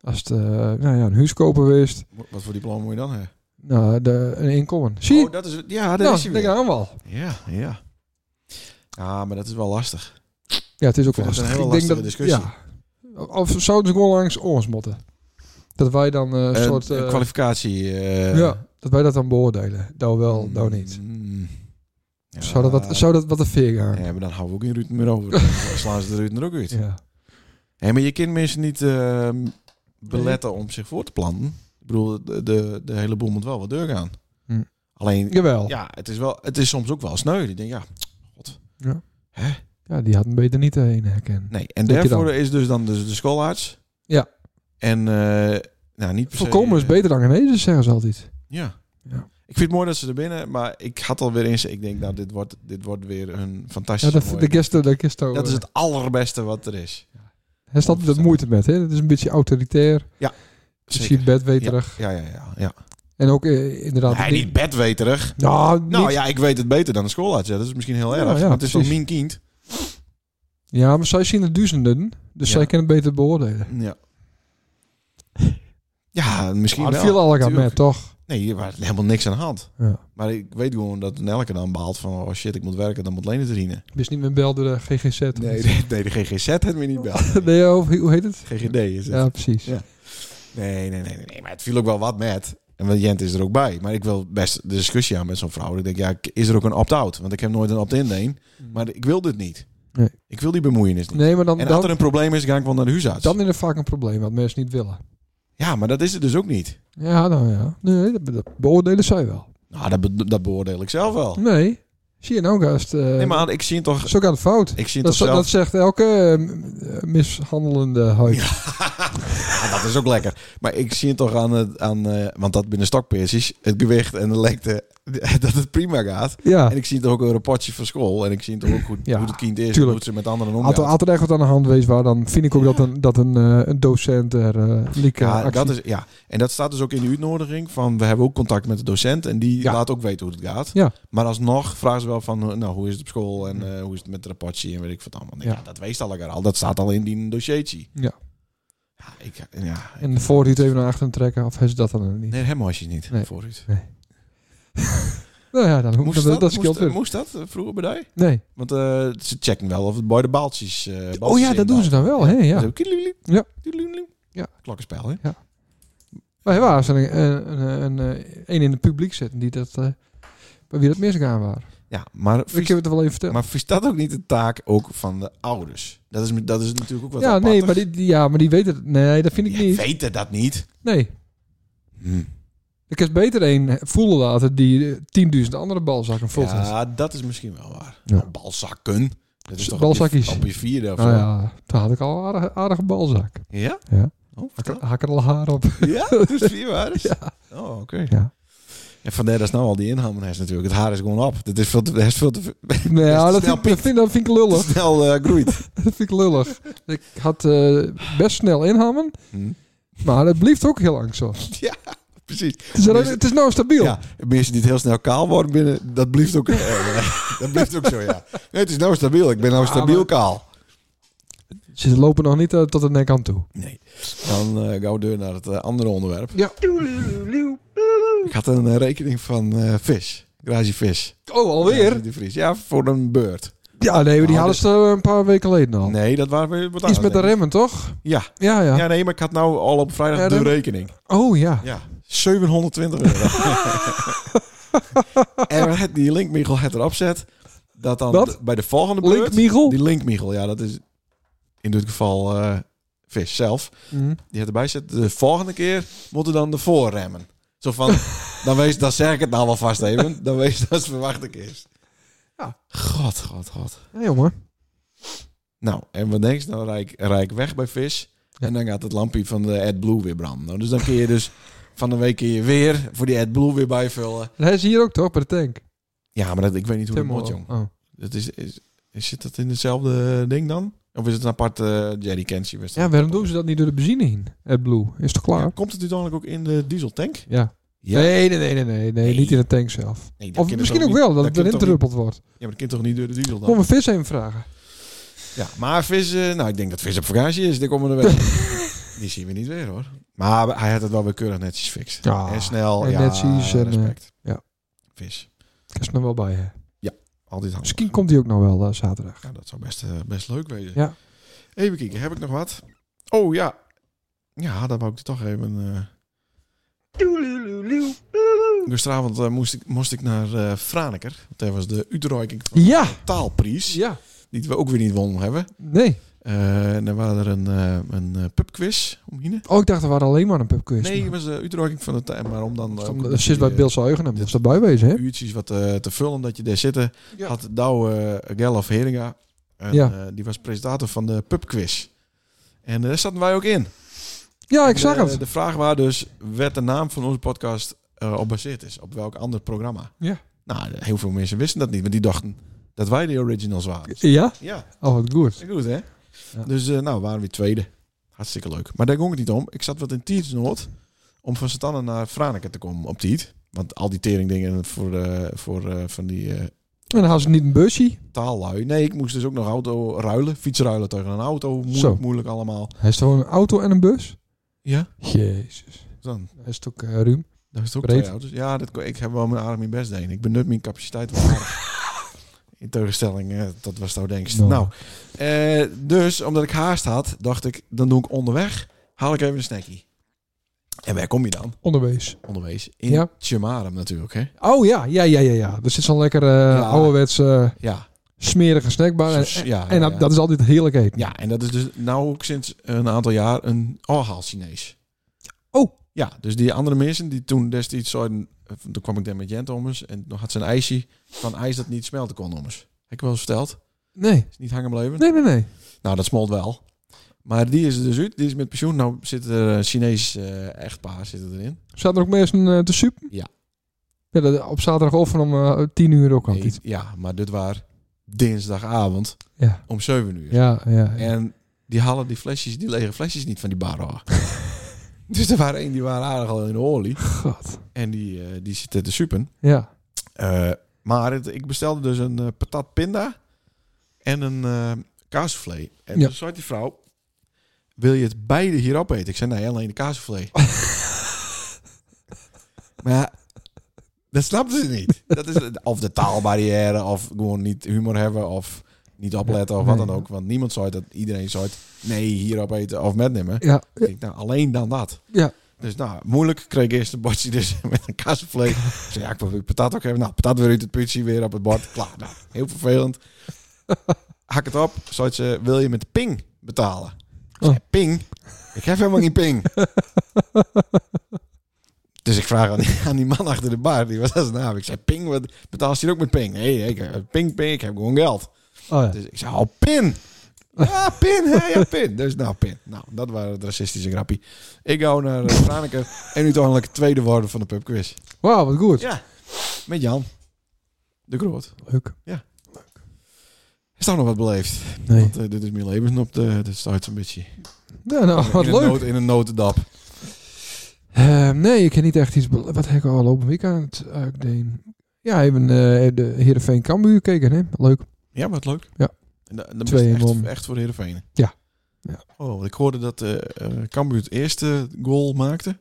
als het eh, nou ja, een huis kopen wist. Wat voor diploma moet je dan hebben? Nou, de, een inkomen. Zie je? Oh, dat is, het. ja, dat nou, is hij denk weer. aan wel. Ja, ja. Ja, maar dat is wel lastig. Ja, het is ook vind het lastig. een hele ik denk dat, lastige discussie. Ja. Of zouden ze gewoon langs ons moeten? Dat wij dan eh, een Een soort... eh, een kwalificatie. eh, ja, dat wij dat dan beoordelen. Nou wel, nou niet. Mm. Ja, Zou dat wat, zou dat wat te ver gaan? Ja, maar dan houden we ook geen Ruud meer over. Dan slaan ze de Ruud er ook uit. Ja. Hé, maar je kind mensen niet ehm, beletten om zich voor te planten. Ik bedoel, de, de, de hele boel moet wel wat deur gaan. Hm. Alleen, Jawel. Ja. ja, het is, wel, het is soms ook wel sneu. Ik denk, ja, god. Ja. Hè? die had hem beter niet heen herkennen. Nee, en Denk je daarvoor is dus dan dus de schoolarts. Ja. En, eh nou, niet per se... Voorkomen is eh, beter dan genezen, zeggen ze altijd. Ja. Ja. Ik vind het mooi dat ze er binnen, maar ik had alweer eens... Ik denk, nou, dit wordt, dit wordt weer een Ja, fantastische de, mooie- de gesto, de gesto. Dat is het allerbeste wat er is. Hij staat er moeite met, hè? Dat is een beetje autoritair. Misschien bedweterig. Ja, ja, ja. ja. En ook eh, inderdaad... Hij niet bedweterig. Nou, Nou niet- ja, ik weet het beter dan de schoolarts. Ja, dat is misschien heel Ja, erg. ja, maar het is wel precies. mijn kind. ja, maar zij zien er duizenden, dus Ja. zij kunnen het beter beoordelen. Ja. Ja, misschien Maar het wel. Ah, viel al aan met, tuurlijk. toch? Nee, er was helemaal niks aan de hand. Ja. Maar ik weet gewoon dat een elke dan behaalt van... Oh shit, ik moet werken, dan moet Lene het erin. Wist niet meer bel door de GGZ. of Nee, iets. de, nee, de GGZ hebben we niet bellen. Nee, of hoe heet het? GGD is het. Ja, precies. Ja. Nee, nee, nee, nee, nee. Maar het viel ook wel wat met. En want Jent is er ook bij. Maar ik wil best de discussie aan met zo'n vrouw. Ik denk, ja, k- is er ook een opt-out? Want ik heb nooit een opt-in een. Maar ik wil dit niet. Mm. Nee. Ik wil die bemoeienis niet. Nee, maar dan, en als er dan, een probleem is, ga ik wel naar de huisarts. dan is er vaak een probleem wat mensen niet willen. Ja, maar dat is het dus ook niet. Ja, nou ja. Nee, dat, dat beoordelen zij wel. Nou, dat, be- dat beoordeel ik zelf wel. Nee. Zie je nou, gast? eh, Nee, maar ik zie toch... Zo gaat het fout. Ik zie Dat, toch zo- zelf... dat zegt elke eh, mishandelende huid. Ja. Ja, dat is ook lekker. Maar ik zie het toch aan, het, aan eh, want dat binnen stokpeersjes, het gewicht en de lengte, dat het prima gaat. Ja, En ik zie toch ook een rapportje van school. En ik zie toch ook goed, Ja, hoe het kind is, en tuurlijk. hoe het ze met anderen Had er omgaat. altijd echt wat aan de hand geweest waar, dan vind ik ook dat een, dat een, eh, een docent er eh lieke Ja, actie- dat is, ja, en dat staat dus ook in de uitnodiging van, we hebben ook contact met de docent en die Ja. laat ook weten hoe het gaat. Ja. Maar alsnog vragen ze wel van, nou, hoe is het op school en eh, hoe is het met het rapportje en weet ik wat allemaal. Ik, Ja. Ja. dat wees al lekker al, dat staat al in die dossiertje. Ja. Ja, ik, ja. En voor die het even naar achteren trekken, of is dat dan niet? Nee, hem was je niet Nee. vooruit. Nou ja, dan hoeft Moest dat, dat, dat, dat scheelt moest, weer. moest dat eh, vroeger bij die? Nee. Want eh, ze checken wel of het bij de baaltjes... eh, Oh baaltjes ja, in dat doen ze daar. dan wel, hè? Ja. Zo, kielielie. Ja. Kielielie. Ja. Klokkenspel, hè? Maar er waren een, een, een, een, eh, een in het publiek zitten die dat, eh, bij wie dat misgaan waren. Ja, maar Ik heb het er wel even verteld. Maar is dat ook niet de taak ook van de ouders? Dat is, dat is natuurlijk ook wat Ja, nee, maar die, die- ja, maar die Hmm. weten het. Nee, dat vind ik niet. weten dat niet. Nee. Ik heb beter een voelen laten die eh, 10.000 andere balzakken Nou vol heeft. Ja, dat is misschien wel waar. Ja. Nou, balzakken. Dat is Dus toch balzakjes. Op je, op je vierde of Nou zo. ja, toen had ik al een aardige, aardige balzak. Ja? Ja. Oh, Had ik- vertel. had ik er al haar op. ja, dat is vier waar. Ja. Oh, oké. Ja. En vandaar dat is nou al die inhammenhest natuurlijk. Het haar is gewoon op. Dat is veel te... Dat is veel te Nee, ja, dat, snel vind, dat, vind, dat vind ik lullig. snel eh, groeit. Dat vind ik lullig. Ik had eh, best snel inhammen, Hm. maar het blijft ook heel lang zo. Precies. Dus Het is, het is nou stabiel. Ja, mensen die het heel snel kaal worden binnen, dat blijft ook, eh, dat blijft ook zo, ja. Nee, het is nou stabiel. Ik ben nou Ja, stabiel maar- kaal. Ze lopen nog niet eh, tot de nek aan toe. Nee. Dan eh gauw deur naar het eh, andere onderwerp. Ja. Ik had een eh, rekening van eh, vis. Grazie Vis. Oh, Grazie de Vries. Ja, voor een beurt. Ja, nee, die Oh, hadden dit- ze nou een paar weken geleden al. Nee, dat waren we wat Oh. Iets anders, met de denk ik. remmen, toch? Ja. Ja, ja. ja, nee, maar ik had nou al op vrijdag Ja, de dan- rekening. Oh ja. Ja, 720 euro. en het, die linkmichel het erop zet, dat dan Wat? d- bij de volgende beurt... Link Michel. Die linkmichel, ja, dat is in dit geval eh, vis zelf. Mm. die had erbij zet. De volgende keer moeten dan de voorremmen. Zo van, dan, wees, dan zeg ik het nou wel vast even. Dan wees dat het verwacht ik is. Ja. God, god, god. Ja, jongen. Nou, en wat denk je nou? Rijk, rijk weg bij vis. Ja. En dan gaat het lampje van de AdBlue weer branden. Nou, dus dan kun je dus van de week kun je weer voor die AdBlue weer bijvullen. Hij is hier ook toch, bij de tank? Ja, maar dat, ik weet niet hoe dat Timmerwolf. moet, jong. Oh. Dat is, is, is- zit dat in hetzelfde ding dan? Of is het een aparte eh, jerrycansie? Ja, waarom doen ze dat niet door de benzine heen? Het Blue. Is toch klaar? Komt het uiteindelijk ook in de dieseltank? Ja. Ja. Nee, nee, nee, nee, nee, nee, Nee. Niet in de tank zelf. Nee, dat kan Of het misschien toch ook niet- wel, dat het kan erin toch niet- druppelt wordt. Ja, maar dat kind toch niet door de diesel dan? Kom een vis even vragen. Ja, maar vis, eh, nou ik denk dat vis op vakantie is, die komen er wel. die zien we niet weer hoor. Maar hij had het wel weer keurig netjes fixed. Ja. en snel, Ah, en ja, netjes en, eh, respect. ja. Vis, Ik is er nog wel bij. Hè. altijd handig. Misschien komt hij ook nog wel eh, zaterdag. Ja, dat zou best, eh, best leuk wezen. Ja. Even kijken, heb ik nog wat? Oh ja. Ja, dat wou ik toch even... eh Gisteravond eh, moest, ik, moest ik naar eh Franeker. Want daar was de uitreiking van Ja. de taalprijs. Ja. Die we ook weer niet wonnen hebben. Nee. Eh, en dan waren er een, eh, een eh, pubquiz omheen. Oh, ik dacht er waren alleen maar een pubquiz. Nee, het maar, was de uitdrukking van de tijd. Maar om dan... eh, ook dat dat zit die, bij eh, Bill Zuigen. dit- Dat erbij wezen, hè? Uurtjes wat eh, te vullen dat je daar zitten. Ja. Had Douwe eh, Gerlof Heringa. En, Ja. eh, die was presentator van de pubquiz. En eh, daar zaten wij ook in. Ja, ik En, zag eh, het. De vraag was dus, werd de naam van onze podcast eh, op gebaseerd is? Op welk ander programma? Ja. Nou, heel veel mensen wisten dat niet. Want die dachten dat wij de originals waren. Ja? Ja, Oh, wat goed. goed hè? Ja. Dus eh, nou, waren we tweede. Hartstikke leuk. Maar daar ging het niet om. Ik zat wat in Tietsnoord om van Satannen naar Franeker te komen op Tiet. Want al die teringdingen voor, eh, voor eh, van die eh, En dan hadden ze niet een busje. taallui. Nee, ik moest dus ook nog auto ruilen. Fiets ruilen tegen een auto. Moeilijk, Zo. moeilijk allemaal. Hij is gewoon een auto en een bus. Ja, Jezus. dan. Hij is toch eh, ruim. Daar is het ook Breed. twee auto's. Ja, dat, kon- ik heb wel mijn aardig mijn best deed. Ik benut mijn capaciteit wel aardig. In tegenstelling, eh, dat was nou denkst. Nou. Nou, eh, dus omdat ik haast had, dacht ik, dan doe ik onderweg, haal ik even een snackie. En waar kom je dan? Onderwees. Onderwees. In Ja. ja. natuurlijk, hè? Oh ja, ja, ja, ja, ja. Er zit zo'n lekker eh ouderwets eh, Ja. smerige snackbar. Oh, En, Zo- ja, en dat, ja. dat is altijd heerlijk eten. ja, en dat is dus nou ook sinds een aantal jaar een orhaal Chinees. Oh. Ja, dus die andere mensen die toen destijds zouden... eh, Toen kwam ik daar met Jent ommers en nog had ze een ijsje van ijs dat niet smelten kon ommers. Heb ik wel eens verteld? Nee, Is niet hangen blijven? nee, nee, nee. Nou, dat smolt wel. Maar die is er dus uit, die is met pensioen. Nou zit er een Chinees eh, echtpaar zit erin. Zaten er ook mensen eh, te sup? Ja. ja dat- op zaterdagochtend om eh, 10 uur ook altijd. Nee, ja, maar dit was dinsdagavond Ja. om 7 uur. Ja, ja. ja. En die halen die flesjes, die lege flesjes niet van die bar af. dus er waren één, die waren aardig al in de olie. God. En die, eh, die zit te suppen. Ja. Eh, maar het- ik bestelde dus een eh, patat pinda en een eh kaasvlee. En Ja. toen zei die vrouw, wil je het beide hier opeten? Ik zei, nee, alleen de kaasvlee. maar ja, dat snapte ze niet. Dat is, het- of de taalbarrière, of gewoon niet humor hebben, of niet opletten, of wat Nee. dan ook. Want niemand zei dat iedereen zei, nee, hier opeten of metnemen. Ja. Ik denk, nou, alleen dan dat. Ja. Dus nou, moeilijk. Kreeg ik eerst een bordje dus met een kaasvlees. Ik zei, ja, ik wil patat ook hebben. Nou, patat weer uit het putje, weer op het bord. Klaar, nou, heel vervelend. Hak het op. Zoals ze, wil je met ping betalen? Ik zei, Oh. ping? Ik heb helemaal geen ping. dus ik vraag aan die, aan die man achter de bar, die was als naam. Ik zei, ping, wat, betaal je hier ook met ping? Nee, ik, heb- ping, ping, ik heb gewoon geld. Oh, ja. Dus ik zei, oh, pin! Ja, pin, hè, ja, pin. Dus nou, pin. Nou, dat waren het racistische grappie. Ik hou naar eh, Franeker en uiteindelijk het tweede worden van de pubquiz. Wauw, wat goed. Ja. Met Jan. De Groot. Leuk. Is daar nog wat beleefd? Nee. Want eh, dit is mijn leven op de... Dit staat zo'n beetje... Ja, nou, wat in Een leuk. noot, in een notendap. Ehm, nee, ik heb niet echt iets... bele- Wat heb ik al op een weekend uitdeen? Ja, even eh de Heerenveen Cambuur gekeken, hè? Leest Ja, wat leuk. Ja. En da- dan Twee Twee en echt, om. echt voor de Heerenveen. Ja. Ja. Oh, want ik hoorde dat eh eh, Cambuur het eerste goal maakte.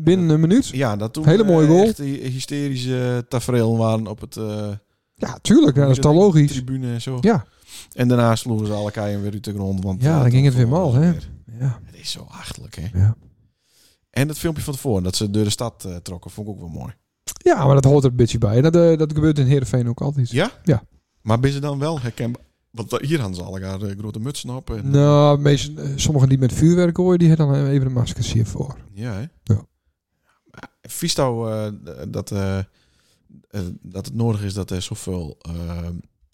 Binnen een minuut. Ja, dat toen Hele mooie eh, goal. echt die hysterische tafereel waren op het... eh, Ja, tuurlijk. Ja, dat is toch logisch. Tribune en zo. Ja. En daarna sloegen ze alle keien weer uit de grond. Want Ja, eh, dan dat ging het weer vond ik mal, wel hè? weer. Ja. Het is zo achterlijk, hè? Ja. En dat filmpje van tevoren, dat ze door de stad eh, trokken, vond ik ook wel mooi. ja, maar dat hoort er een beetje bij. Dat, eh, dat gebeurt in Heerenveen ook altijd. Ja? Ja. Maar ben ze dan wel herkenbaar? Want da- hier hadden ze allemaal eh, grote mutsen op. En, Nou, meest, eh, sommigen die met vuurwerk gooien, die hebben dan eh, even een maskers hiervoor. eh, Ja, hè? Ja. Maar Vies nou eh, d- dat, eh, eh, dat het nodig is dat er zoveel eh,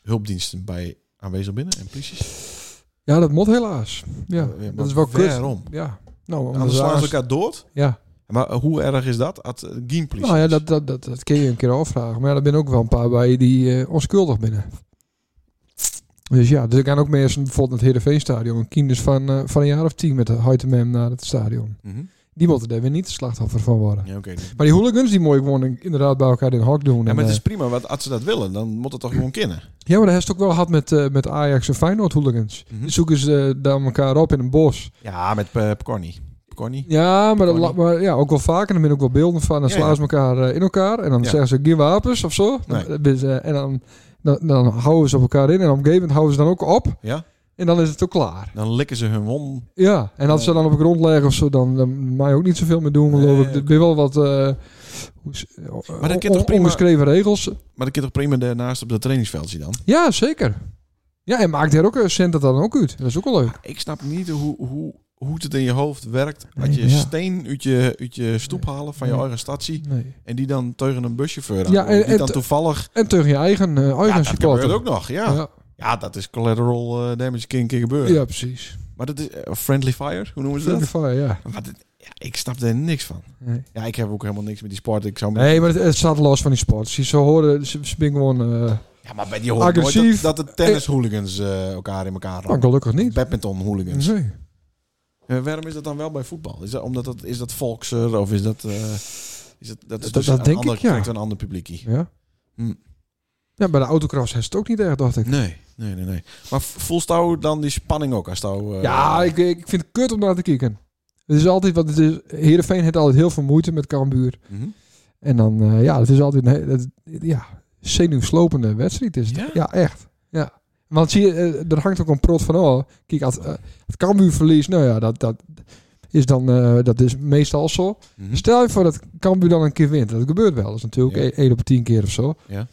hulpdiensten bij aanwezig binnen en polities? Ja, dat moet helaas. Ja, Ja, maar dat is wel kut. waarom? Ja. Nou, omdat Anders ze slaan ze haast- elkaar dood. Ja. Maar eh, hoe erg is dat? At, game police. Nou ja, dat, dat, dat, dat kun je een keer afvragen. Maar ja, er zijn ook wel een paar bij die eh, onschuldig binnen. Dus ja, dus er gaan ook mensen bijvoorbeeld naar het Heerenveenstadion. Een kinders van, eh, van een jaar of tien met de Huytemem naar het stadion. Mhm. Die moeten daar weer niet de slachtoffer van worden. Ja, oké. Maar die hooligans die mooi gewoon inderdaad bij elkaar in een hok doen. Ja, En, maar het eh, is prima, want als ze dat willen, dan moet het toch gewoon kennen. Ja, maar dat heeft het ook wel gehad met, eh, met Ajax en Feyenoord hooligans. Mhm. Die zoeken ze eh, daar elkaar op in een bos. Ja, met uh, Corny. Corny. Ja, maar, dat, Gewoon la- maar ja, ook wel vaker. Er zijn ook wel beelden van. Dan Ja, slaan ja. ze elkaar eh, in elkaar. En dan Ja. zeggen ze geen wapens of zo. Dan- Nee. dus, eh, en dan, dan, dan houden ze op elkaar in. En op een gegeven moment houden ze dan ook op. Ja. En dan is het ook klaar. Dan likken ze hun won. Ja, en als ze dan op de grond liggen of zo, dan, dan mag je ook niet zoveel meer doen. geloof Nee, ik. Er zijn wel wat eh hoe is- eh, kan on- toch on- prima- ongeschreven regels. Maar dan kun je toch prima daarnaast op dat trainingsveldje dan? Ja, zeker. Ja, en maakt er ook een cent dat dan ook uit. Dat is ook wel leuk. Ik snap niet hoe, hoe, hoe het in je hoofd werkt. Nee, dat je maar ja. steen uit je, uit je stoep halen van je Nee. eigen statie. Nee. En die dan tegen een buschauffeur aan. Ja, Ja, en- en, die en dan te- toevallig... En tegen je eigen, eh Ja, eigen dat supporter. gebeurt ook nog, ja. ja. Ja. dat is collateral eh, damage keer een keer gebeuren. Ja, precies. Maar dat is eh, friendly fire, hoe noemen ze Friendly Dus dat? fire, ja. Maar dat- ja, ik snap er niks van. Nee. Ja, ik heb ook helemaal niks met die sport. Ik zou me- Nee, maar het, het staat los van die sport. Ze, ze horen, ze, ze zijn gewoon... eh, Ja, maar bij die hoort nooit Agressief. dat, dat de tennis-hooligans eh, elkaar in elkaar nou, raken. gelukkig niet. Mhm. Badminton-hooligans. Nee. Eh, waarom is dat dan wel bij voetbal? Is dat omdat dat is dat volkser of is dat eh, is dat dat, is Dat- dus dat een denk ander, ik, ja. trekt een ander publiekie? Ja. Hm. ja, bij de autocross heeft het ook niet erg, dacht ik. Nee, nee, nee, nee. Maar v- voelst jou dan die spanning ook als jou? eh, Ja, ik, ik vind het kut om naar te kijken. Het is altijd, want het is, Heerenveen heeft altijd heel veel moeite met Cambuur. Mhm. En dan, eh, ja, het is altijd een he- het- ja, zenuwslopende wedstrijd. Is het. Ja? Ja? echt. Ja. Want zie je, eh, er hangt ook een prot van, oh, kijk, als eh, het Cambuur verliest, nou ja, dat, dat, is dan, eh, dat is meestal zo. Mhm. Stel je voor dat Cambuur dan een keer wint. Dat gebeurt wel eens natuurlijk. Ja. e- 1 op 10 keer of zo. Ja.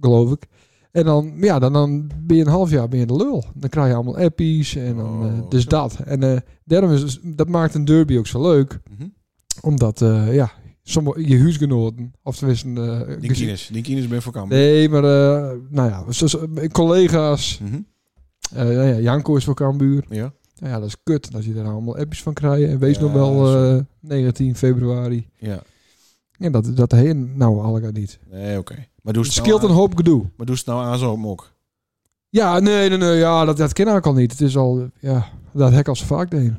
Geloof ik. En dan, ja, dan, dan ben je een half jaar ben je de lul. Dan krijg je allemaal appies en dan Oh, eh, dus zo. dat. En eh, daarom is dat maakt een derby ook zo leuk. Mhm. Omdat, eh, ja, sommige, je huisgenoten, of tenminste... eh, Die gezin- kines. Die kines ben voor Kampen. Nee, maar eh, nou ja, zo- zo- collega's. Mhm. Eh, nou ja, Janko is voor Cambuur. Ja. Nou ja, dat is kut dat je daar allemaal appjes van krijgt. En wees Ja, nog wel zo. eh, 19 februari. Ja. Ja, dat, dat heen nou allemaal niet. Nee, oké. Maar doe Dus het het nou scheelt aan- een hoop gedoe. Maar doe het nou aan zo'n mok. Ja, nee, nee, nee. Ja, dat, dat ken ik al niet. Het is al, eh, ja, dat hek als vaak deed.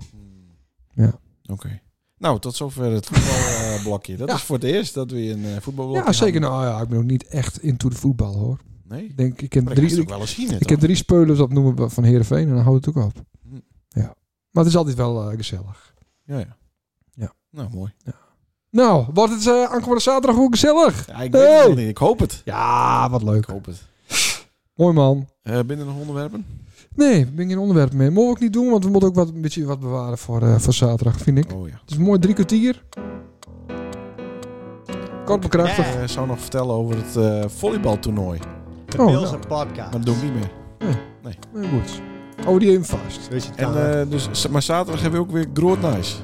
Ja. Oké. Nou, tot zover het voetbalblokje. Dat Ja. is voor het eerst dat we een eh, voetbalblokje Ja, zeker. hadden. Nou ja, ik ben ook niet echt into de voetbal hoor. Nee? Ik denk, ik ken Maar dat is drie, ook ik, wel eens zien, hè, ik ken toch? drie spelers opnoemen van Heerenveen en dan houdt het ook op. Hm. Ja. Maar het is altijd wel eh, gezellig. Ja, ja. Ja. Nou, mooi. Nou, wordt het eh aankomende zaterdag ook gezellig? Ja, ik Hey! weet het nog niet. Ik hoop het. Ja, wat leuk. Ik hoop het. Mooi man. Eh binnen nog onderwerpen? Nee, ben ik geen onderwerp meer. Mogen we ook niet doen, want we moeten ook wat, een beetje wat bewaren voor, eh, voor zaterdag, vind ik. Oh ja. Het is mooi drie kwartier. Kort Ik bekrachtigd. Ja. eh, zou nog vertellen over het eh, volleybaltoernooi. De Oh, Bills nou. en podcast. Maar dat doe ik niet meer. Nee, goed. Oh, die even vast. Dus het En, kan. eh, dus, z- maar zaterdag hebben we ook weer groot nice.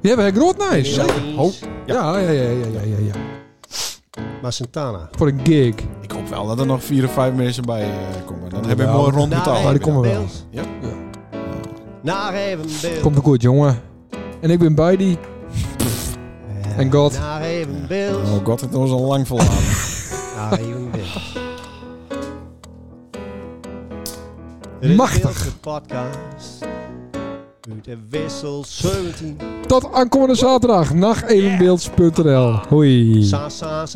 Die hebben we groot nice. Bills, Zeker. Oh, ja, ja, ja, ja, ja, ja, ja. Maar Santana. Voor een gig. Ik hoop wel dat er nog vier of vijf mensen bij eh, komen. Dan hebben we Nou, mooi rond Naar betaald. maar die komen wel. Bills. Ja? Ja. Naar even Bills. Komt er goed, jongen. En ik ben bij die. Ja. En God. Naar even Bills. Oh god, het was al lang verlaten. Naar even Bills. Machtig. De podcast. Uit de wissel 17. Tot aankomende zaterdag. Nachtevenbeelds.nl. Hoi. Sa, sa, sa.